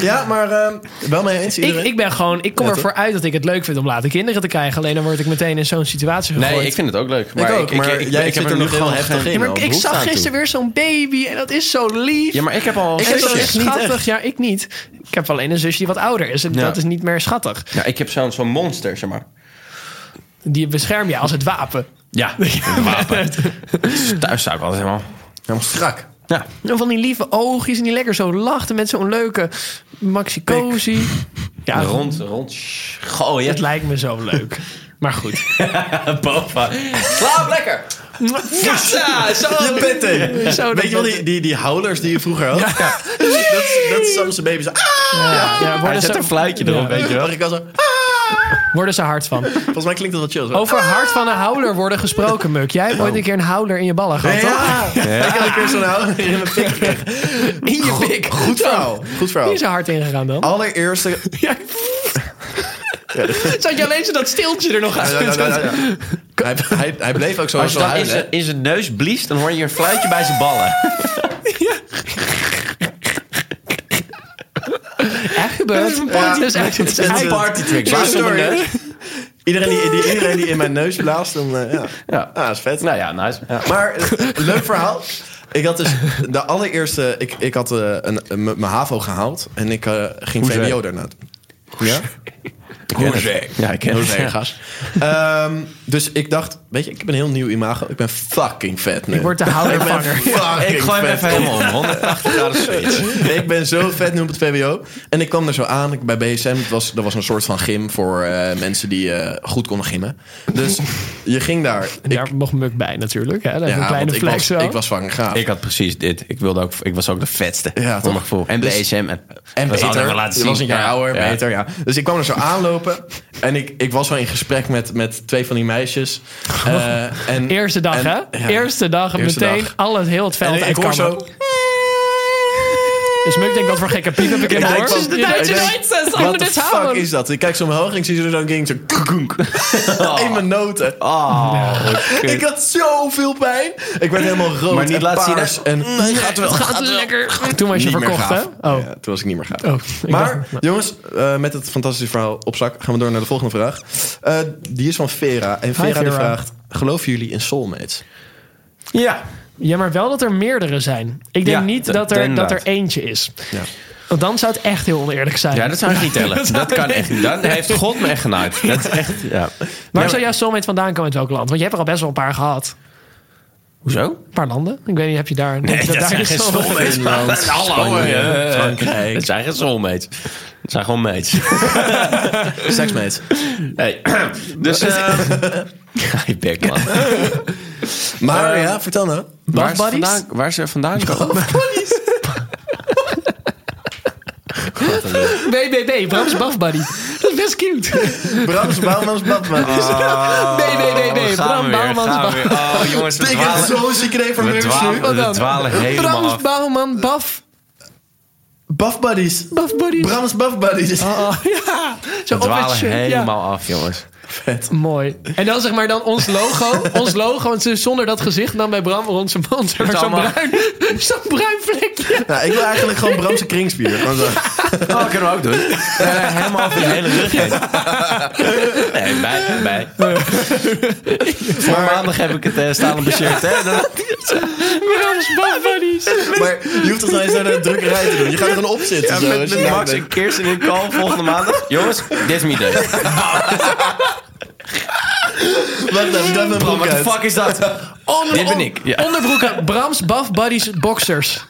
S2: Ja, maar eh, wel mee eens
S3: ik,
S2: iedereen?
S3: ik ben gewoon, ik kom
S2: Ja,
S3: ervoor uit dat ik het leuk vind om later kinderen te krijgen. Alleen dan word ik meteen in zo'n situatie gegooid.
S1: Nee, ik vind het ook leuk. Maar
S2: ook, maar jij zit er
S1: nu
S2: nog heel
S1: gewoon
S2: heftig
S1: geen-
S2: in.
S3: Ja, maar
S2: Nou,
S3: ik- ik
S2: behoefte
S3: zag
S2: aan toe.
S3: gisteren weer zo'n baby en dat is zo lief.
S1: Ja, maar ik heb al...
S2: Ik
S3: En
S2: heb
S3: zo
S2: dat echt niet
S3: schattig.
S2: echt.
S3: Ja, ik niet. Ik heb alleen een zusje die wat ouder is. En
S1: Ja.
S3: dat is niet meer schattig.
S1: Ja, ik heb zo'n zo'n monster, zeg maar.
S3: Die bescherm je als het wapen.
S1: Ja, een wapen. Dus Thuis zou ik altijd helemaal...
S2: Helemaal strak.
S1: Ja,
S3: En van die lieve oogjes en die lekker zo lachten met zo'n leuke maxicosi. Ja,
S1: rond, rond. Goh, je
S3: Het
S1: hebt
S3: lijkt me zo leuk. Maar goed.
S1: boven. Slaap lekker! Ja, zo!
S2: Je bent in.
S3: Zo,
S2: Weet je wel, die, die, die houders die je vroeger had? Dat, dat is Sam's baby zo. Ah!
S3: Ja, ja,
S1: Hij
S3: worden,
S1: zet
S3: ze,
S1: dus een fluitje erop, weet je wel.
S2: Mag ik al zo. ah!
S3: worden ze hard van.
S2: Volgens mij klinkt dat wat chill. Zo.
S3: Over hard van een houder worden gesproken, Muk. Jij hebt ooit een keer een houder in je ballen gehad, toch?
S2: Ja. Ik had een keer zo'n houder in mijn pik. gekregen.
S3: In je pik.
S2: Goed verhaal. Goed verhaal.
S3: Die is er hard ingegaan dan.
S2: Allereerste.
S3: Zat je alleen zo dat stiltje er nog
S2: Ja, ja,
S3: uit?
S2: ja, ja, ja. Hij, hij, hij bleef ook zo
S1: Als je
S2: zo
S1: dan in
S2: huilen. hè?
S1: zijn- in zijn neus bliest, dan hoor je een fluitje bij zijn ballen.
S3: Echt gebeurd. Dat is echt- dat is
S2: Het is
S3: echt-
S2: een
S1: party trick.
S2: True
S1: Waar is
S2: story.
S1: mijn
S2: Iedereen die, die, iedereen die in mijn neus blaast, dan eh, ja.
S1: Ja.
S2: Ah, is vet.
S1: Nou ja, nice. Ja.
S2: Maar eh, leuk verhaal. Ik had dus de allereerste... Ik, ik had eh, een- een- mijn HAVO gehaald. En ik eh, ging
S1: Hoezé.
S2: VWO daarna. doen. Ja? Hoezé.
S1: Ja, ik ken het.
S2: Hoezé, gas. Ehm, dus ik dacht, weet je, ik heb een heel nieuw imago. Ik ben fucking vet nu.
S3: Ik word de
S2: Ik ben
S3: houdervanger.
S2: fucking
S1: Ik gooi hem
S2: vet.
S1: even helemaal om. 180 graden switch.
S2: ik ben zo vet nu op het VWO. En ik kwam er zo aan ik, bij BSM. Het was, dat was een soort van gym voor eh, mensen die eh, goed konden gimmen. Dus je ging daar. Ik,
S3: Daar mocht Muk bij natuurlijk. Hè? Dat is
S2: ja,
S3: een
S2: want
S3: kleine
S2: ik
S3: flex
S2: was,
S3: zo.
S2: ik was fucking gaaf.
S1: Ik had precies dit. Ik, wilde ook, ik was ook de vetste.
S2: Ja,
S1: voor
S2: toch?
S1: mijn gevoel. En bij
S2: Dus-
S1: ESM. En,
S2: en
S1: dat zal ik
S2: beter.
S1: wel laten
S2: Je was een jaar
S1: Ja,
S2: ouder,
S1: ja.
S2: beter, ja. Dus ik kwam er zo aanlopen. En ik, ik was wel in gesprek met, met twee van die meisjes. Eh, en,
S3: Oh. Eerste dag,
S2: en-
S3: hè?
S2: ja.
S3: Eerste dag
S2: Eerste
S3: meteen
S2: dag.
S3: al het, heel het veld
S2: En ik hoor
S3: uitkammen.
S2: zo...
S3: Dus Muk denkt, wat voor gekke piep heb ik in
S2: Ja,
S3: mijn
S2: ik
S3: oor?
S2: was- ik denk,
S3: eh,
S2: Wat de fuck is dat? Ik kijk zo omhoog en ik zie zo zo'n ding. Zo, koekoenk. In mijn noten.
S1: Oh, wat kut.
S2: Ik had zoveel pijn. Ik werd helemaal rood
S1: Maar niet
S2: en
S1: laten zien,
S2: paars.
S1: hè?
S2: En nee, gaat wel.
S3: Gaat lekker. Toen was je
S2: Niet meer
S3: verkocht, hè?
S2: gaaf.
S3: Oh.
S2: Ja, toen was ik niet meer gaaf.
S3: Oh, ik
S2: maar
S3: dacht-
S2: jongens, eh, met het fantastische verhaal op zak gaan we door naar de volgende vraag. Eh, die is van Vera. En Vera, die
S3: Vera.
S2: vraagt, geloven jullie in soulmates?
S1: Ja.
S3: Ja, maar wel dat er meerdere zijn. Ik denk
S1: Ja,
S3: niet
S1: dat-
S3: dat er, dat
S1: inderdaad.
S3: er eentje is.
S2: Ja.
S3: Want dan zou het echt heel oneerlijk zijn.
S1: ja, dat zou ik niet tellen. Dat kan echt niet. Dan heeft God me echt genaaid. Dat is echt, ja.
S3: Waar
S1: Ja,
S3: zou jouw soulmate vandaan komen uit welk land? Want je hebt er al best wel een paar gehad.
S1: Hoezo?
S3: Een paar landen. Ik weet niet, heb je daar...
S1: Nee, dat, zijn geen soulmates.
S2: Nederland,
S1: Hallo,
S2: Spanje,
S1: eh,
S2: Frankrijk.
S1: Dat zijn geen soulmates. Dat zijn gewoon mates.
S2: Seksmates.
S1: Hey. Dus, eh Hi, Beckman.
S2: Maar
S3: Eh.
S2: ja, vertel nou.
S1: Waar, ze
S3: buddies?
S1: vandaan- waar ze vandaan komen.
S3: BBB, Brams Buff Buddy. Dat is best cute.
S2: Brams, Bouwmans, Badman.
S1: Ah,
S3: nee, nee,
S2: Oh,
S3: nee, nee. Bram Bouwmans Baf.
S1: Oh, jongens, we
S2: Ik heb
S1: dwalen,
S2: zo'n zieke idee voor
S1: we
S2: nummers nu.
S1: dwalen, we dwalen helemaal
S3: Brams
S1: af.
S3: Bouwman Buff,
S2: Buff Buddies.
S3: Buff Buddy.
S2: Brams Buff Buddies.
S3: Oh, ja. Zo
S1: We
S3: op het
S1: dwalen
S3: shirt, ja.
S1: helemaal af, jongens.
S3: Mooi. En dan zeg maar dan ons logo. ons logo, en zonder dat gezicht dan bij Bram rond zijn mond. zeg maar Zo'n
S1: allemaal-
S3: bruin, zo'n bruin vlekje.
S2: Nou, ik wil eigenlijk gewoon Bramse kringsbier. Gewoon zo.
S1: Oh, kunnen we ook doen. helemaal over de hele rug heen. Nee, bij, bij. Voor maandag heb ik het eh, staan op mijn shirt. Hè? Dan-
S3: Brams Buff Buddies.
S2: Maar je hoeft het nou eens naar de drukkerij te doen. Je gaat er gewoon op zitten.
S1: Ja,
S2: zo,
S1: met,
S2: als je
S1: met
S2: daar
S1: Max
S2: bent.
S1: en Kirsten in call volgende maandag. Jongens, dit is mijn idee.
S2: Wacht even, duim mijn
S1: Bro,
S2: broek
S1: what the
S2: uit.
S1: fuck is dat?
S3: Onder-
S1: Dit ben
S3: on-
S1: ik, ja.
S3: Onderbroeken, Brams Buff Buddies Boxers.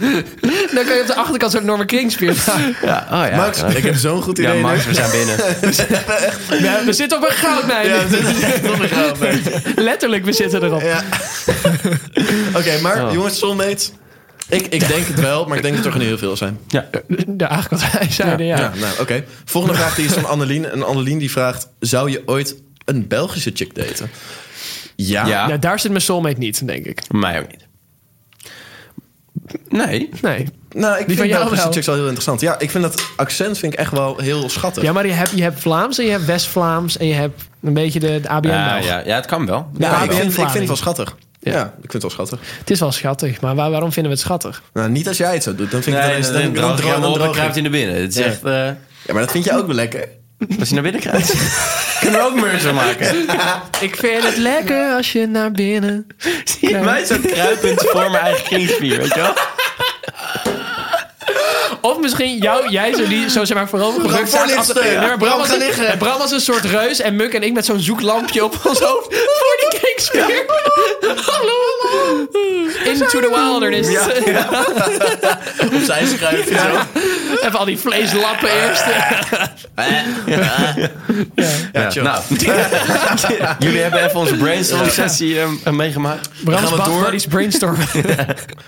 S3: Dan kan je op de achterkant zo'n enorme kringspeer
S1: Ja, oh ja.
S2: Max, ik heb zo'n goed
S1: ja,
S2: idee.
S1: Max, we zijn binnen.
S3: We zitten op een goudmijn.
S2: Ja, dit is echt nog een grap, hè.
S3: Letterlijk, we zitten erop.
S2: Ja. Oké, maar
S1: Oh.
S2: jongens, soulmates. Ik, ik denk het wel, maar ik denk dat er gewoon heel veel zijn.
S1: Ja.
S3: Ja, eigenlijk wat wij zeiden, ja.
S2: Ja, nou, oké. Volgende vraag die is van Annelien. En Annelien die vraagt, zou je ooit een Belgische chick daten? Ja.
S1: Ja.
S3: Nou, daar zit mijn soulmate niet, denk ik.
S1: Mij ook niet. Nee.
S3: Nee.
S2: Nou, ik
S3: Die van
S2: vind
S3: jou
S2: Belgische
S3: wel.
S2: chicks wel heel interessant. Ja, ik vind dat accent vind ik echt wel heel schattig.
S3: Ja, maar je hebt, je hebt Vlaams en je hebt West-Vlaams en je hebt een beetje de, de ABN.
S1: Ja,
S3: Belg.
S1: ja, ja, het kan wel.
S2: Ja,
S3: Ja,
S2: ik,
S3: wel.
S2: vind, ik vind het wel
S3: Vlaming.
S2: schattig. Ja.
S3: Ja.
S2: ik vind het wel schattig.
S3: Het is wel schattig, maar waar- waarom vinden we het schattig?
S2: Nou, niet als jij het zo doet. Dan vind ik
S1: Nee,
S2: het
S1: dan,
S2: ineens...
S1: dan,
S2: Dan,
S1: droog
S2: dan,
S1: je
S2: droog-
S1: hem
S2: dan
S1: op en
S2: droog
S1: kruipt
S2: je.
S1: hij naar binnen. Het is
S2: Ja.
S1: echt... eh,
S2: Ja, maar dat vind je ook wel lekker.
S1: als je naar binnen kruipt... kunnen we ook merch aan maken.
S3: Ik vind het lekker als je naar binnen...
S1: Zie je mij zo kruipend voor mijn eigen kringspier, weet je wel?
S3: Of misschien jou, jij zo, die, zo zeg maar voorover gebukt
S2: voor
S3: staat. als-
S2: liggen.
S3: Nee, maar
S2: Bram,
S3: Bram, was
S2: ga
S3: een,
S2: liggen.
S3: en Bram was een soort reus en Muk en ik met zo'n zoeklampje op ons hoofd voor die kingspeer. Hallo. Into the wilderness.
S2: Opzij schuiven. zo.
S3: Even al die vleeslappen eerst.
S1: Ja,
S2: chill.
S1: nou, jullie hebben even onze brainstorm sessie eh, meegemaakt.
S3: Bram's
S2: we door.
S3: Bafwaris brainstorm.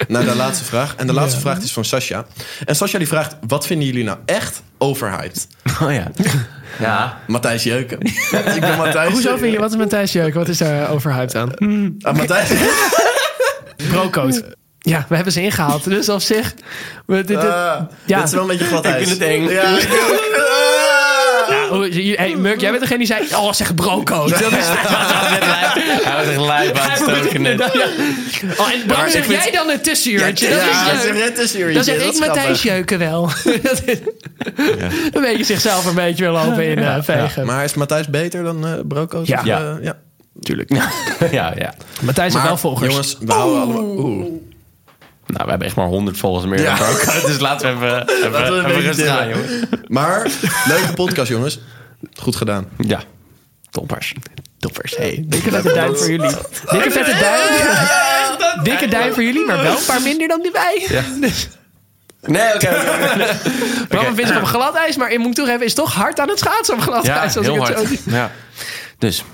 S2: Naar de laatste vraag. En de laatste vraag is van Sascha. En Sascha die vraagt, wat vinden jullie nou echt overhyped?
S1: Oh ja. Ja.
S2: Matthijs Jeuken. ik ben Matthijs.
S3: Hoezo vind je, wat is met Thijs Jeuk? Wat is daar overhyped aan?
S2: Ah, Matthijs.
S3: Brocode. Ja, we hebben ze ingehaald. Dus op zich... we- dit- dit-
S2: Ah,
S3: Ja.
S2: Dat is wel een beetje glad
S1: Ik
S2: ijs.
S1: vind het eng.
S2: Ja, ik ook. Ah.
S3: Oh, je- hey, Muk, jij bent degene die zei... Oh, zeg brocode. Dat is
S1: Hij was echt lijp aan het stoken net.
S3: Ja. Oh, en Bram,
S2: ik
S3: zeg
S2: vind-
S3: jij dan het tussenuurtje? dat
S2: Ja,
S3: is
S2: zeg
S3: leuk.
S2: het eens, Jurrietje,
S3: Dan zeg
S2: dat
S3: ik
S2: is grappig.
S3: Matthijs Jeuken wel. Dat is- Dan weet je zichzelf een beetje wel lopen in eh, vegen.
S2: Maar is Matthijs beter dan eh Broco?
S3: Ja.
S2: Of,
S1: Ja.
S2: eh, ja.
S1: Tuurlijk. Ja, ja.
S3: Matthijs heeft wel volgers.
S2: jongens, we houden allemaal... Oeh.
S1: Nou, we hebben echt maar 100 volgers meer
S2: Ja.
S1: dan Broco. Dus laten we even, even,
S2: Laten we een
S1: even
S2: beetje
S1: rustig
S2: chillen.
S1: aan, jongen.
S2: Maar, leuke podcast, jongens. Goed gedaan.
S1: Ja. Toppers.
S3: toppers. Hey, dikke vette duim voor jullie. Dikke vette duim. Dikke duim voor jullie, maar wel een paar minder dan die wij.
S1: Nee, oké. oké, oké.
S3: Bram vindt zich op glad ijs, maar ik moet toegeven, is toch hard aan het schaatsen op glad
S1: Ja,
S3: ijs. Als
S1: heel
S3: ik het zo
S1: hard.
S3: zie.
S1: Ja. Dus.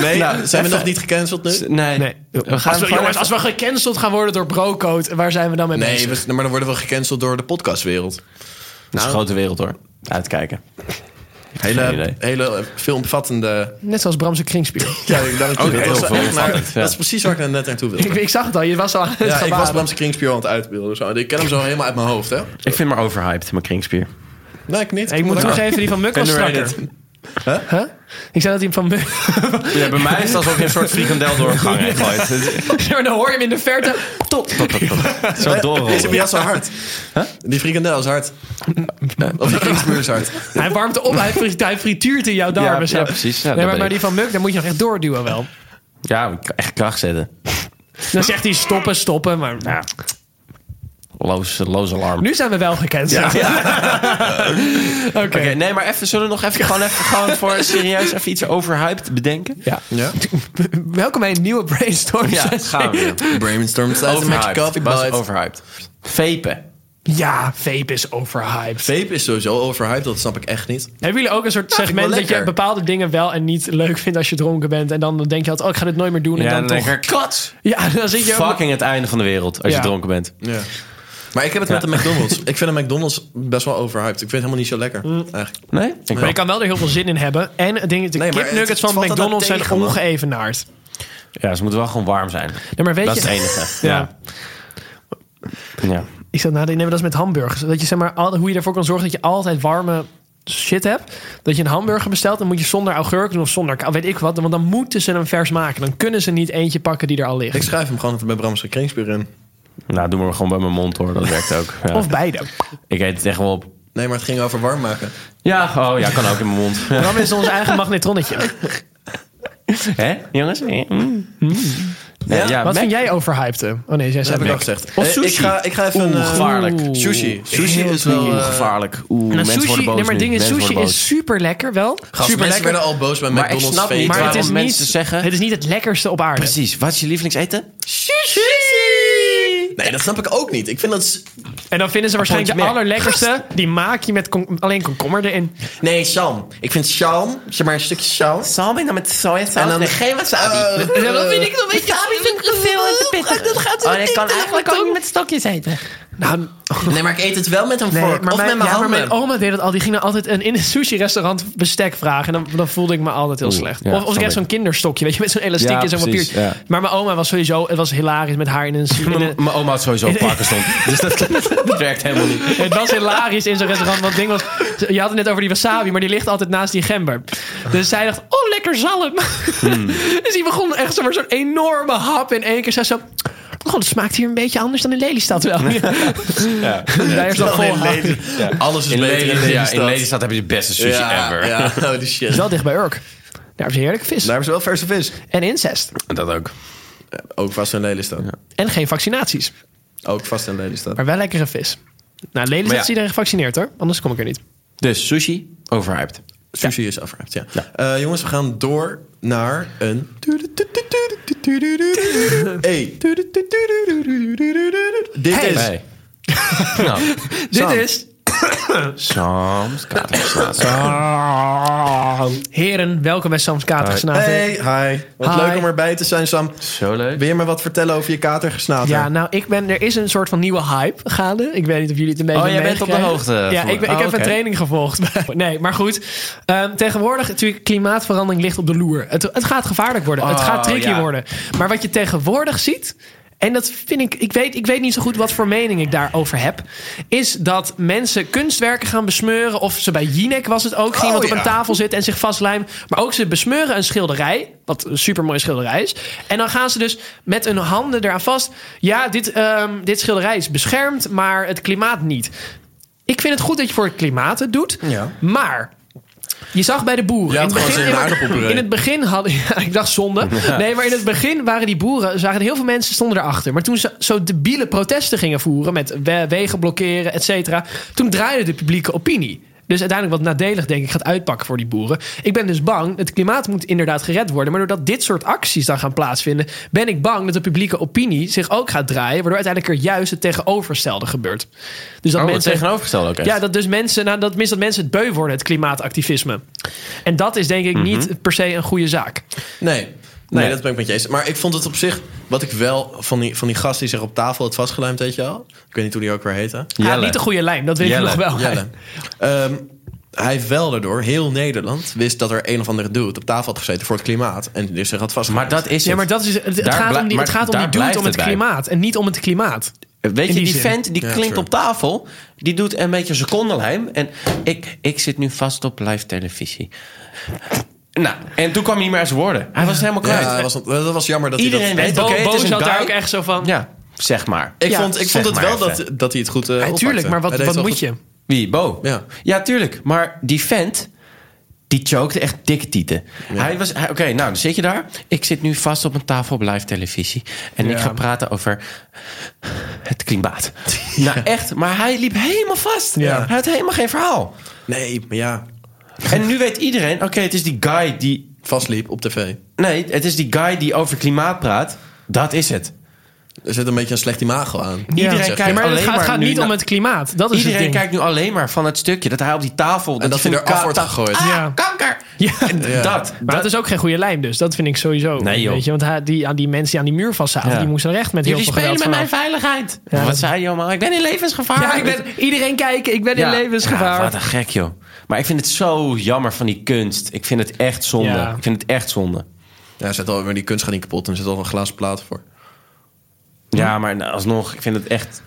S2: Nee,
S1: Nou,
S2: zijn we
S1: even-
S2: nog niet gecanceld nu?
S1: Nee.
S3: Nee.
S1: We gaan
S3: Als we,
S1: gewoon
S3: jongens, als
S1: even-
S3: we gecanceld gaan worden door Brocode, waar zijn we dan mee
S2: Nee,
S3: bezig?
S2: we- maar dan worden we gecanceld door de podcastwereld.
S1: Dat is een grote wereld, hoor. Uitkijken. Geen idee.
S2: Hele, hele eh, filmvattende...
S3: Net zoals Bramse kringspier.
S2: Ja, ik dank je.
S1: Ook
S2: dat,
S1: heel
S2: was wel
S1: veel
S2: echt, maar,
S1: opvallend, ja.
S2: dat is precies waar ik net naartoe
S3: Ik,
S2: wilde.
S3: ik zag het al, je was al aan het
S2: Ja, ik was
S3: gebaren.
S2: Bramse Kringspier aan het uitbeelden. Zo. Ik ken hem zo helemaal uit mijn hoofd, hè?
S1: Ik vind maar overhyped, mijn kringspier.
S2: Nee, ik niet.
S3: Hey, ik moet
S2: Maar-
S3: toegeven, die van Muk was strakker.
S1: Underrated.
S3: Huh? Ik zei dat hij hem van Muk...
S1: Ja, bij mij is het alsof je een soort frikandel door een gang heen gooit.
S3: maar dan hoor je hem in de verte. Top.
S1: Tot, tot, tot. Zo
S2: Is die
S1: doorrollen.
S2: bij jou zo hard? Die frikandel is hard. Of die Kringspier is hard.
S3: Hij warmt op, hij, frit- hij frituurt in jouw darmen.
S1: ja,
S3: zo. nee,
S1: precies. Ja, dat
S3: maar,
S1: ben
S3: maar
S1: ik.
S3: die van Muk, daar moet je nog echt doorduwen wel.
S1: Ja, echt kracht zetten.
S3: Dan zegt hij stoppen, stoppen. Maar
S1: Ja. Loos, loos alarm.
S3: nu zijn we wel gecanceld. Oké.
S1: Oké, nou- nee, maar even, zullen we nog even, gewoon even gewoon voor serieus even iets overhyped bedenken?
S3: Ja.
S2: Ja.
S3: Welkom bij een nieuwe brainstorm.
S1: Ja,
S3: sessie.
S1: gaan we weer.
S2: Brainstorm staat met je
S1: Overhyped.
S2: coffee
S1: Was
S2: bites.
S1: overhyped. Vapen.
S3: Ja, vape is overhyped.
S2: Vape is sowieso overhyped, dat snap ik echt niet.
S3: Hebben jullie ook een soort
S2: vind ik wel
S3: segment dat je
S2: lekker.
S3: bepaalde dingen wel en niet leuk vindt als je dronken bent? En dan denk je altijd, oh, ik ga dit nooit meer doen. En dan toch...
S1: kats.
S3: Ja, dan zit je...
S1: Fucking het einde van de wereld als
S3: Ja.
S1: je dronken bent.
S2: Ja. Maar ik heb het met de McDonald's. Ik vind de McDonald's best wel overhyped. Ik vind het helemaal niet zo lekker. Eigenlijk.
S1: Nee? Ik
S3: Maar
S1: wel.
S3: je kan wel er heel veel zin in hebben. En het ding is, de
S2: Nee, maar
S3: kipnuggets
S2: het- het
S3: van
S2: valt altijd
S3: McDonald's zijn
S2: tegen, man.
S3: ongeëvenaard.
S1: Ja, ze moeten wel gewoon warm zijn.
S3: Nee, maar weet
S1: dat
S3: je...
S1: is het enige.
S3: Ja.
S1: Ja. ja.
S3: Ik zat na te nemen, dat is met hamburgers. Dat je zeg maar, al- hoe je ervoor kan zorgen dat je altijd warme shit hebt. Dat je een hamburger bestelt, dan moet je zonder augurk doen of zonder ka- weet ik wat. Want dan moeten ze hem vers maken. Dan kunnen ze niet eentje pakken die er al
S2: Ik
S3: ligt.
S2: schrijf hem gewoon bij Bramse Kringspuur in.
S1: Nou, doe maar gewoon bij mijn mond hoor. Dat werkt ook. Ja.
S3: Of beide.
S1: Ik eet het echt wel op.
S2: Nee, maar het ging over warm maken.
S1: Ja, oh ja, kan ook in mijn mond. Ja.
S3: Bram is ons eigen magnetronnetje.
S1: Hè, jongens? Mm. Ja, ja,
S3: Wat
S1: Mac-
S3: vind jij overhyped? eh? Oh nee, jij
S2: Dat
S3: zei
S2: heb ik al
S3: Mac.
S2: gezegd.
S1: Of
S2: Eh,
S1: sushi.
S2: Ik ga, ik ga even...
S1: Oeh,
S2: eh,
S1: gevaarlijk.
S2: Sushi. Sushi
S1: Heel
S2: is wel...
S1: oeh,
S2: eh,
S1: gevaarlijk. Oeh,
S3: Nou,
S1: mensen
S3: sushi,
S1: worden boos
S3: nee, maar
S1: nu.
S3: dingen,
S1: Mensen
S3: sushi
S1: worden boos.
S3: is super lekker wel.
S1: Super
S2: Gast, mensen
S1: lekker.
S2: werden al boos bij
S1: Maar ik
S2: McDonald's
S1: snap niet
S2: feet.
S1: waarom
S3: Maar het is,
S1: mensen
S3: niet,
S1: zeggen-
S3: het is niet het lekkerste op aarde.
S1: Precies. Wat is je lievelingseten?
S2: Nee, dat snap ik ook niet. Ik vind dat... s-
S3: En dan vinden ze waarschijnlijk de
S1: Appeltje meer.
S3: allerlekkerste. Die maak je met kom- alleen komkommer erin.
S2: Nee, Sam. Ik vind Sam, zeg maar een stukje Sam.
S1: Salmi dan met sojasaus en,
S2: en
S1: geen wasabi.
S3: dat vind ik
S5: nog een beetje te veel en te pittig. Dat gaat
S1: Oh, ik kan eigenlijk ook niet met stokjes eten.
S3: Nou,
S2: Nee, maar ik eet het wel met een
S3: Nee,
S2: vork.
S3: maar
S2: of
S3: mijn,
S2: met mijn
S3: ja, maar
S2: handen.
S3: mijn oma deed dat al. Die ging dan altijd een, in een sushi-restaurant bestek vragen. En dan, dan voelde ik me altijd heel
S1: Oeh,
S3: slecht.
S1: ja,
S3: of of ik
S1: snap
S3: had
S1: ik.
S3: zo'n kinderstokje, weet je, met zo'n elastiek
S1: Ja,
S3: en zo'n papier.
S1: precies, ja.
S3: Maar mijn oma was sowieso, het was hilarisch met haar in een... in een-
S1: Mijn oma had sowieso Parkinson. dus dat, dat werkt helemaal niet.
S3: het was hilarisch in zo'n restaurant. Want het ding was, je had het net over die wasabi, maar die ligt altijd naast die gember. Dus zij dacht, oh, lekker zalm. dus die begon echt zo maar zo'n enorme hap in één keer. Zij zo, oh, dat smaakt hier een beetje anders dan in Lelystad wel. Dus
S1: Ja.
S3: Daar is dat
S2: Dan in
S3: vol hap.
S2: Lely- Alles is
S1: In,
S2: beter
S1: Lelystad, ja, in
S2: Lelystad.
S1: Lelystad heb je de beste sushi
S2: ja,
S1: ever.
S2: Ja, holy
S3: is
S2: shit.
S3: wel dicht bij Urk. Daar hebben ze heerlijk vis.
S2: Daar is wel verse vis.
S3: En incest.
S1: Dat ook.
S2: Ook vast in Lelystad.
S3: En geen vaccinaties.
S2: Ook vast in Lelystad.
S3: Maar wel lekkere vis. Nou, Lelystad
S1: Maar ja.
S3: is iedereen gevaccineerd hoor. Anders kom ik er niet.
S1: Dus sushi, overhyped.
S2: Sushi is afgehaakt, ja. Eh, jongens, we gaan door naar een... Hey. Dit
S3: Hey.
S2: is...
S1: Hey. nou,
S2: Sam.
S3: Dit is...
S1: soms kan het slaat.
S3: Ah. Heren, welkom bij Sam's Katergesnater.
S2: Hey, hi. Wat
S3: Nou, Hi.
S2: leuk om erbij te zijn, Sam.
S1: Zo leuk.
S2: Wil je me wat vertellen over je katergesnater?
S3: Ja, nou, ik ben, er is een soort van nieuwe hype gaande. Ik weet niet of jullie het een beetje
S1: Oh, jij bent op de
S3: meegekregen.
S1: hoogte
S3: Ja,
S1: van-
S3: ik, ben, ik
S1: Oh,
S3: heb
S1: oké.
S3: een training gevolgd. Nee, maar goed. Ehm, tegenwoordig, natuurlijk, klimaatverandering ligt op de loer. Het, het gaat gevaarlijk worden. het
S1: Oh,
S3: gaat tricky
S1: ja.
S3: worden. Maar wat je tegenwoordig ziet... En dat vind ik, ik weet, ik weet niet zo goed wat voor mening ik daarover heb. Is dat mensen kunstwerken gaan besmeuren. Of ze bij Jinek was het
S1: Oh,
S3: ook. Ging iemand op
S2: ja.
S3: een tafel zitten en zich vastlijmen. Maar ook ze besmeuren een schilderij. Wat een supermooie schilderij is. En dan gaan ze dus met hun handen eraan vast. Ja, dit, ehm, dit schilderij is beschermd, maar het klimaat niet. Ik vind het goed dat je voor het klimaat het doet.
S2: Ja.
S3: Maar je zag bij de boeren.
S2: Je had gewoon zin in
S3: in,
S2: aardappelpuree.
S3: in het begin hadden. Ja, ik dacht zonde. Nee, maar in het begin waren die boeren. Zagen er heel veel mensen stonden erachter. Maar toen ze zo debiele protesten gingen voeren. met we- wegen blokkeren, et cetera. toen draaide de publieke opinie. Dus uiteindelijk wat nadelig, denk ik, gaat uitpakken voor die boeren. Ik ben dus bang, het klimaat moet inderdaad gered worden. Maar doordat dit soort acties dan gaan plaatsvinden. ben ik bang dat de publieke opinie zich ook gaat draaien. Waardoor uiteindelijk er juist het tegenovergestelde gebeurt. Dus dat
S1: Oh, het
S3: mensen.
S1: tegenovergestelde ook echt.
S3: Ja, dat dus mensen, nou, dat, tenminste dat mensen het beu worden, het klimaatactivisme. En dat is denk ik
S1: Mhm.
S3: niet per se een goede zaak.
S2: Nee. Nee,
S1: Nee.
S2: dat ben ik met je eens. Maar ik vond het op zich, wat ik wel van die, van die gast die zich op tafel had vastgelijmd, weet je wel. Ik weet niet hoe die ook weer heette.
S3: Ja,
S1: Jelle.
S3: niet de goede lijm, dat weet
S1: Jelle,
S3: ik nog wel.
S2: Jelle. Ehm, hij heeft wel daardoor, heel Nederland, wist dat er een of andere dude op tafel had gezeten voor het klimaat. En die zich had
S1: Maar
S2: vastgelijmd.
S1: dat is
S3: Ja,
S1: het.
S3: maar dat is, het, het
S1: Daar
S3: gaat
S1: blij-
S3: om die, het
S1: maar
S3: gaat om die
S1: daar
S3: dude,
S1: blijft
S3: om het
S1: het bij.
S3: klimaat. En niet om het klimaat.
S1: Weet je,
S3: In die
S1: die,
S3: zin.
S1: vent die
S2: Ja,
S1: klinkt
S2: true.
S1: op tafel. Die doet een beetje een secondenlijm. En ik, ik zit nu vast op live televisie. Nou, en toen kwam hij niet meer uit zijn woorden. Hij was het helemaal kwijt.
S2: Ja, dat was, dat was jammer dat
S1: Iedereen
S2: hij dat...
S1: weet
S3: Bo,
S1: oké, het
S3: Bo
S1: is een
S3: zat daar
S1: guy.
S3: ook echt zo van. Ja,
S1: Ja, zeg maar.
S2: Ik
S3: Ja,
S2: vond, ik
S1: zeg
S2: vond het
S1: maar
S2: wel
S1: even.
S2: dat, dat hij het goed eh
S3: tuurlijk,
S2: oppakte.
S3: maar
S2: Hij
S3: wat,
S2: deed
S3: wat
S2: wel
S3: moet
S2: goed.
S3: je?
S1: Wie? Bo?
S2: Ja.
S1: tuurlijk. Maar die vent, die chokte echt dikke tieten. Hij was... hij- Oké, nou, dan zit je daar. Ik zit nu vast op een tafel op live televisie. En ik
S3: Ja.
S1: ga praten over het klimaat. Nou, echt. Maar hij liep helemaal vast.
S3: Ja.
S1: Hij had helemaal geen verhaal.
S2: Nee, maar ja,
S1: En nu weet iedereen, oké, het is die guy die...
S2: vastliep op tv.
S1: Nee, het is die guy die over klimaat praat. Dat is het.
S2: Er zit een beetje een slecht imago aan.
S1: Iedereen
S2: Zeg je.
S1: kijkt
S3: maar het
S1: alleen
S3: gaat,
S1: maar
S3: gaat
S1: nu
S3: niet
S1: naar-
S3: om het klimaat. Dat is
S1: Iedereen
S3: het ding.
S1: kijkt nu alleen maar van het stukje dat hij op die tafel...
S2: En dat
S1: hij
S2: hij
S1: van
S2: eraf
S1: ka-
S2: wordt
S1: taf-
S2: gegooid.
S1: Ah,
S3: Ja.
S1: kanker!
S3: Ja.
S1: En Dat.
S3: Dat is ook geen goede lijm dus. Dat vind ik sowieso.
S1: Nee, joh.
S3: Weet je? Want hij- die, aan die mensen die aan die muur vastzaten,
S1: Ja.
S3: die moesten recht met heel
S1: Jullie
S3: veel
S1: spelen
S3: geweld
S1: met mijn
S3: vanaf.
S1: veiligheid. Wat zei je allemaal? Ik ben in levensgevaar.
S3: Ja, ik ben, iedereen kijken, ik ben
S1: Ja.
S3: in levensgevaar.
S1: Ja, wat een gek, joh. Maar ik vind het zo jammer van die kunst. Ik vind het echt zonde.
S3: Ja.
S1: Ik vind het echt zonde.
S2: Ja, zet al, maar die kunst gaat niet kapot en er zit al een glazen plaat voor.
S1: Ja, maar alsnog, ik vind het echt...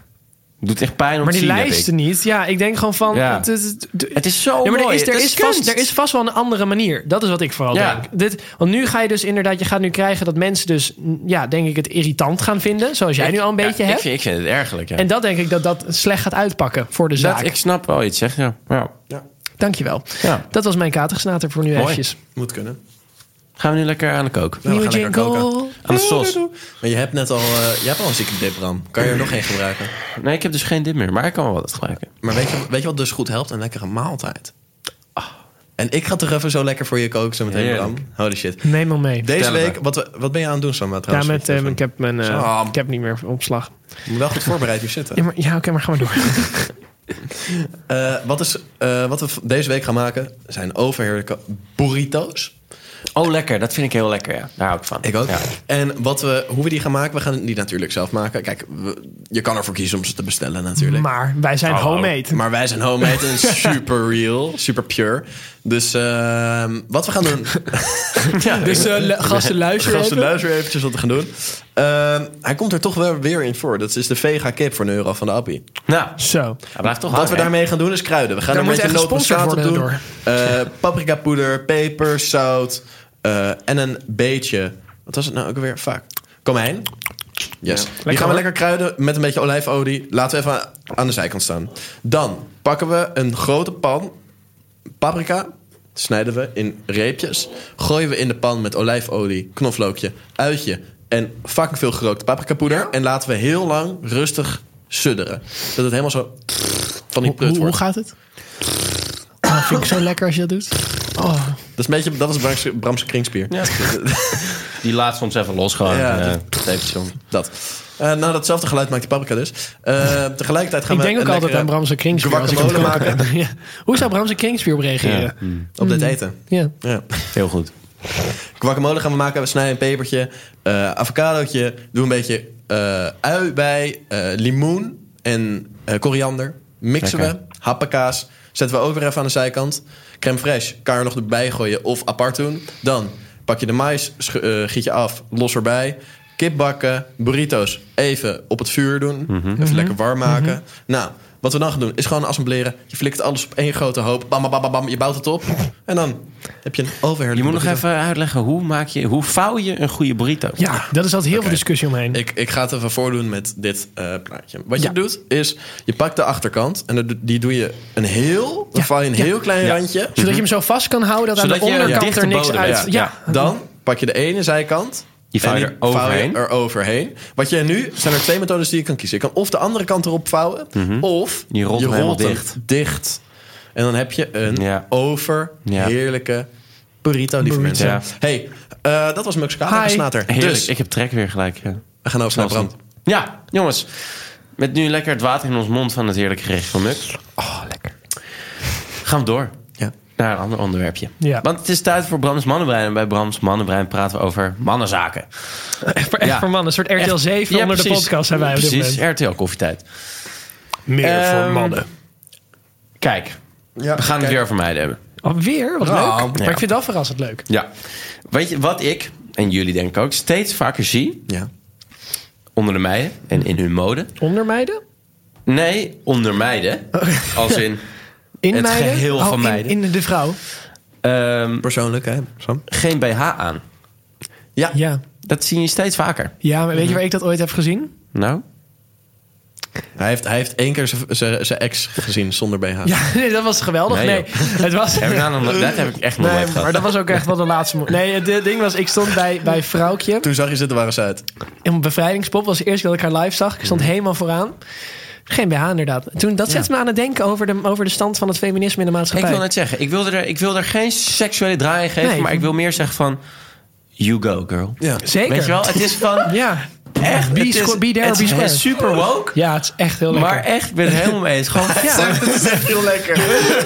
S1: Het doet echt pijn om
S3: maar
S1: te
S3: die
S1: zien, heb ik.
S3: lijsten niet. Ja, ik denk gewoon van...
S1: Ja.
S3: Het, het- het-
S1: Het is zo
S3: Ja, maar er
S1: mooi.
S3: is, er,
S1: Het
S3: is vast,
S1: kunst.
S3: er is vast wel een andere manier. Dat is wat ik vooral
S1: Ja.
S3: denk. Dit, want nu ga je dus inderdaad, je gaat nu krijgen dat mensen dus, mm, ja, denk ik, het irritant gaan vinden. Zoals jij nu al een
S1: Ja,
S3: beetje
S1: ik
S3: hebt.
S1: vind, ik vind het ergelijk, ja.
S3: En dat denk ik dat dat slecht gaat uitpakken voor de zaak.
S1: dat, ik snap wel iets, zeg. Ja. Ja.
S3: Dankjewel.
S1: Ja.
S3: Dat was mijn katergesnater voor nu eventjes.
S2: Moet kunnen.
S1: Gaan we nu lekker aan de kook?
S2: Nou, we gaan lekker koken.
S1: Aan de sos.
S2: Maar je hebt net al, eh, je hebt al een zieke dip, Bram. Kan je er nog één gebruiken?
S1: Nee, ik heb dus geen dit meer, maar ik kan wel wat gebruiken.
S2: Maar weet je, weet je wat dus goed helpt? Een lekkere maaltijd.
S3: Ah.
S2: En ik ga toch even zo lekker voor je koken zo meteen,
S1: Heerlijk.
S2: Bram. Holy shit.
S3: Neem hem mee.
S2: Deze
S1: Vertel
S2: week, wat, we- wat ben je aan het doen, Sam?
S3: Ja,
S2: Trouwens,
S3: met, ehm, ik, heb mijn, eh,
S2: Sam.
S3: ik heb niet meer opslag.
S2: Je moet wel goed voorbereid hier zitten.
S3: Ja, maar- ja oké, maar gaan we door.
S2: Eh, wat, is, eh, wat we v- deze week gaan maken zijn overheerlijke burrito's.
S1: Oh, lekker. Dat vind ik heel lekker, ja. Daar hou ik van.
S2: Ik ook.
S1: Ja.
S2: En wat we, hoe we die gaan maken, we gaan die natuurlijk zelf maken. Kijk, we- je kan ervoor kiezen om ze te bestellen natuurlijk. Maar,
S3: Maar wij zijn homemade.
S2: wij zijn homemade en super real, super pure. Dus ehm, wat we gaan doen...
S3: Dus eh, lu- gasten luisteren.
S2: Gasten,
S3: even.
S2: luister eventjes wat we gaan doen. Ehm, hij komt er toch wel weer in voor. Dat is de vega kip voor een euro van de appie.
S1: Nou,
S3: Zo.
S1: hij blijft toch
S2: Wat we
S1: hangen, hè?
S2: daarmee gaan doen is kruiden. We gaan
S3: Daar
S2: er een
S3: moet
S2: beetje
S3: echt gesponsord
S2: nootmuskaat op doen.
S3: worden
S2: Eh, paprikapoeder, peper, zout eh, en een beetje... Wat was het nou ook alweer? Vaak. Komijn. Yes. Die gaan
S3: hoor.
S2: we lekker kruiden met een beetje olijfolie. Laten we even aan de zijkant staan. Dan pakken we een grote pan. Paprika snijden we in reepjes. Gooien we in de pan met olijfolie, knoflookje, uitje... en fucking veel gerookte paprikapoeder. En laten we heel lang rustig sudderen. Dat het helemaal zo van die prut
S3: Hoe, hoe
S2: wordt.
S3: gaat het? Oh, vind ik zo lekker als je dat doet. Oh.
S2: Dat is, een beetje, dat is Bram's, Bram's kringspier.
S1: Die laat soms even los
S3: Ah,
S1: gewoon.
S2: Ja,
S1: eh,
S2: dat-
S1: dat eventjes om.
S2: Dat. Eh, nou, datzelfde geluid maakt die paprika dus. Eh, tegelijkertijd gaan
S3: Ik
S2: we
S3: denk ook
S2: een
S3: altijd
S2: lekkere
S3: aan Bramse Kringspier. als ik
S2: guacamole
S3: hem kook. Hmm.
S2: maken
S3: Ja. Hoe zou Bramse Kringspier op reageren? Ja.
S2: op dit eten. Ja.
S1: Heel goed.
S2: Guacamole gaan we maken. We snijden een pepertje, eh avocadootje. Doe een beetje eh, ui bij, eh, limoen en eh, koriander. Mixen
S1: Lekker.
S2: we, happakaas. Zetten we ook weer even aan de zijkant. Crème fraîche, kan je er nog erbij gooien of apart doen. Dan pak je de mais, schu- eh, giet je af, los erbij. Kip bakken, burrito's even op het vuur doen.
S1: Mhm.
S2: Even lekker warm maken. Nou, wat we dan gaan doen is gewoon assembleren. Je flikt alles op één grote hoop. Bam, bam, bam, bam, bam. Je bouwt het op. En dan heb je een overheerlijke
S1: Je moet nog
S2: burrito.
S1: even uitleggen hoe maak je, hoe vouw je een goede burrito?
S3: ja, dat is altijd heel veel discussie omheen.
S2: Ik, ik ga het even voordoen met dit eh, plaatje. Wat
S3: Ja.
S2: je doet is, je pakt de achterkant en dat- die doe je een heel, dan val je een heel klein randje.
S3: Zodat je hem zo vast kan houden dat
S1: Zodat
S3: aan
S1: je
S3: de onderkant
S1: dichte
S3: er niks
S1: bodem
S3: uit...
S1: hebt.
S3: Ja,
S2: Dan pak je de ene zijkant.
S1: Die vouw je
S2: en
S1: er overheen.
S2: vouw je er overheen. Wat je nu, zijn er twee methodes die je kan kiezen. Je kan of de andere kant erop vouwen, of
S1: Je Mhm. rolt hem helemaal dicht.
S2: dicht. En dan heb je een
S1: Ja.
S2: overheerlijke burrito, lieve mensen.
S1: Ja.
S2: hey, eh, dat was Muxkade
S3: Hi.
S2: Snater.
S1: Heerlijk,
S2: Dus,
S1: ik heb trek weer gelijk. Ja.
S2: we gaan over naar Bram.
S1: Ja, jongens. Met nu lekker het water in ons mond van het heerlijke gerecht van Mux. Oh, lekker. Gaan we door
S2: Ja.
S1: naar een ander onderwerpje.
S3: Ja.
S1: Want het is tijd voor Brams Mannenbrein. En bij Brams Mannenbrein praten we over mannenzaken.
S3: Echt voor, echt
S1: Ja.
S3: voor mannen. Een soort RTL 7
S1: Ja,
S3: onder de
S1: precies.
S3: podcast zijn wij op dit
S1: Precies,
S3: moment.
S1: RTL Koffietijd.
S3: Meer
S1: Ehm, Kijk, we gaan het weer over meiden hebben.
S3: Alweer? Oh, Wat
S2: Ja.
S3: leuk. Maar ik vind het wel verrassend leuk.
S1: Ja. Weet je, wat ik, en jullie denk ik ook, steeds vaker zie
S2: Ja.
S1: onder de meiden en in hun mode.
S3: Onder meiden?
S1: Nee, onder meiden. Als in
S3: In
S1: Het
S3: meiden?
S1: geheel
S3: Oh,
S1: van
S3: in-
S1: meiden.
S3: In, de vrouw?
S1: ehm,
S2: Persoonlijk, hè, Sam?
S1: geen BH aan.
S2: Ja.
S3: Ja.
S1: Dat zie je steeds vaker.
S3: Ja, maar weet je waar ik dat ooit heb gezien?
S1: Nou?
S2: Hij, heeft, hij heeft één keer zijn- zijn zijn ex gezien zonder BH.
S3: Ja, nee, dat was geweldig.
S1: Nee,
S3: Nee, het was...
S1: Heb ik nou nog- dat heb ik echt nog nooit
S3: Nee, maar
S1: gehad.
S3: dat was ook echt wel de laatste... mo- Nee, het eh, ding was, ik stond bij, bij Vrouwtje.
S2: Toen zag je ze er waren ze uit.
S3: En bevrijdingspop was de eerste keer dat ik haar live zag. Ik
S1: Mm.
S3: stond helemaal vooraan. Geen BH inderdaad. Toen, dat zette me aan het denken over de, over de stand van het feminisme in de
S1: Ik
S3: maatschappij.
S1: wil net zeggen, ik wil, er, ik wil er geen seksuele draai in geven,
S3: Nee.
S1: maar ik wil meer zeggen van... You go, girl.
S2: Ja.
S3: Zeker.
S1: Weet je wel, het is van...
S3: Ja.
S1: echt...
S3: Be
S1: het is-
S3: squa- be there,
S1: het
S3: be
S1: is
S3: square.
S1: super woke.
S3: Ja, het is echt heel lekker.
S1: Maar echt, ik ben het helemaal mee eens. Gewoon
S3: ja.
S2: Dat is echt heel lekker.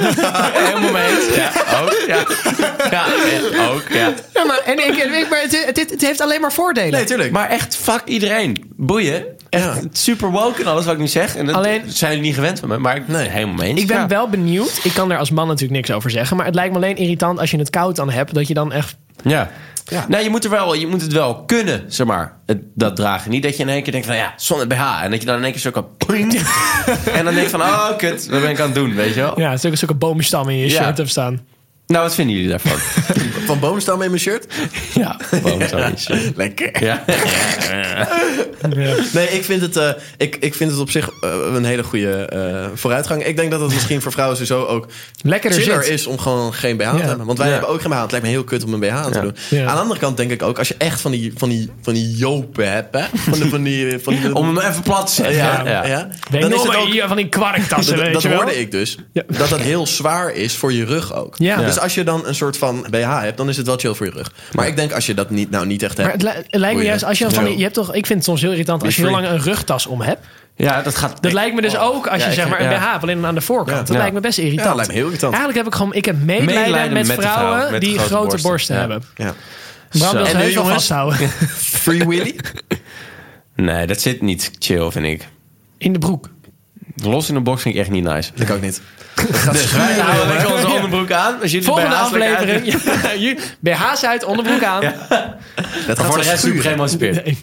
S1: helemaal mee eens. Ja, ook. Ja, ja, ja, ook. Ja.
S3: Ja, maar, en ik, en ik- maar het, het, het heeft alleen maar voordelen.
S2: Nee, tuurlijk.
S1: Maar echt, fuck iedereen. Boeien. Echt
S2: Ja.
S1: super woke en alles wat ik nu zeg. En dat
S3: Alleen-
S1: zijn jullie niet gewend van me. Maar ik
S2: Nee.
S1: helemaal mee eens.
S3: Ik ben
S1: Ja.
S3: wel benieuwd. Ik kan er als man natuurlijk niks over zeggen. Maar het lijkt me alleen irritant als je het koud aan hebt. Dat je dan echt...
S1: Ja. Nou, je moet, er wel, je moet het wel kunnen, zeg maar, het- dat dragen. Niet dat je in één keer denkt van, ja, zonder BH. En dat je dan in één keer zo kan... poing. en dan denk je van, oh, kut, wat ben ik aan het doen, weet je wel?
S3: Ja, natuurlijk zulke boomstammen in je
S1: Ja.
S3: shirt hebt staan.
S1: Nou, wat vinden jullie daarvan?
S2: Van boomstammen in mijn shirt?
S1: ja, gewoon zoiets. ja.
S2: Lekker.
S1: Ja.
S2: Nee, ik vind het, eh, ik, ik vind het op zich eh, een hele goede eh, vooruitgang. Ik denk dat het misschien voor vrouwen sowieso ook
S3: Lekkerder
S2: chiller
S3: zit.
S2: is om gewoon geen BH te
S3: Ja.
S2: hebben. Want wij
S1: Ja.
S2: hebben ook geen BH. Het lijkt me heel kut om een BH aan te
S1: Ja.
S2: doen.
S3: Ja.
S2: Aan de andere kant denk ik ook, als je echt van die, van die, van die jopen hebt, hè? Van, de, van die... Van die
S1: Om hem even plat te
S2: ja,
S1: zetten.
S2: ja.
S1: Ja.
S3: Weet
S2: Dan
S3: nog
S2: is het
S3: maar
S2: ook...
S3: hier van die kwarktassen,
S2: Dat,
S3: weet
S2: dat
S3: je wel.
S2: hoorde ik dus.
S3: Ja.
S2: Dat dat heel zwaar is voor je rug ook.
S3: Ja.
S2: Dus als je dan een soort van BH hebt, dan is het wel chill voor je rug. Maar ik denk als je dat niet, nou niet echt
S3: Maar
S2: hebt.
S3: het, li- het lijkt me
S2: Boeien.
S3: juist, als je dan van die, je hebt toch, ik vind het soms heel irritant als je heel
S2: free.
S3: lang een rugtas om hebt.
S1: Ja, dat gaat...
S3: Dat lijkt me dus ook als je
S2: Oh. ik-
S3: zeg maar een
S1: ja.
S3: BH, alleen aan de voorkant.
S2: Ja.
S3: Dat
S1: Ja.
S3: lijkt me best irritant.
S2: Ja, lijkt me heel irritant.
S3: Eigenlijk heb ik gewoon, ik heb medelijden,
S1: Medelijden
S3: met,
S1: met de
S3: vrouwen,
S1: vrouwen met
S3: die grote,
S1: grote
S3: borsten,
S1: borsten. Ja.
S3: hebben.
S2: Ja.
S3: Bram wil
S1: En
S3: ze
S2: nu,
S3: heus wel
S2: jongens?
S3: vasthouden.
S2: Free Willy?
S1: Nee, dat zit niet chill, vind ik.
S3: In de broek.
S1: Los in de box vind ik echt niet nice.
S2: ik ook niet.
S1: Dus wij houden lekker onze onderbroek aan. Als jullie
S3: Volgende
S1: BH's lekker
S3: aflevering.
S1: uit-
S3: Ja, hier, BH's uit, onderbroek aan.
S2: Dat gaat
S1: Voor de
S2: wel
S1: rest
S2: schuren.
S1: super geëmancipeerd.
S3: Nee.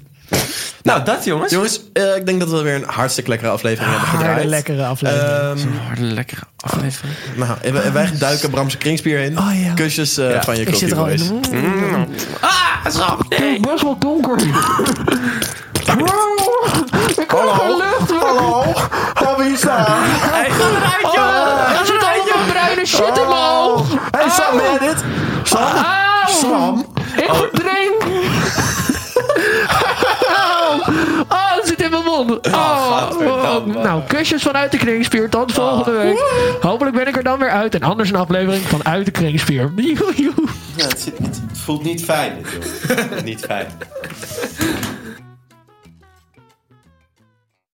S1: Nou, dat jongens.
S2: Jongens, eh, ik denk dat we weer een hartstikke lekkere aflevering hebben
S3: Harde,
S2: gedraaid.
S3: lekkere aflevering.
S2: Ehm,
S1: Harde lekkere aflevering.
S2: nou, en wij- en wij duiken Bramse kringspier in.
S3: Oh, ja.
S2: Kusjes eh,
S1: Ja.
S2: van je
S3: ik zit
S2: Coffee
S3: er al in. Mm.
S2: Boys. Mm.
S1: Ah, schrap! Nee.
S3: Best wel donker.
S2: Hallo, ga wie staan?
S1: Hij gaat eruit, joh!
S3: Ah. Er zit allemaal bruine shit in mijn oog.
S2: Oh. Hey Sam, ben je dit? Sam? Sam?
S3: Ik verdrink. Oh, het zit in mijn mond. Oh,
S1: gadverdamme.
S3: nou, kusjes vanuit de kringspier. Tot volgende week. Hopelijk ben ik er dan weer uit. En anders een aflevering van Uit de Kringspier. Joejoe.
S1: het, voelt niet fijn, dit, joh. niet fijn.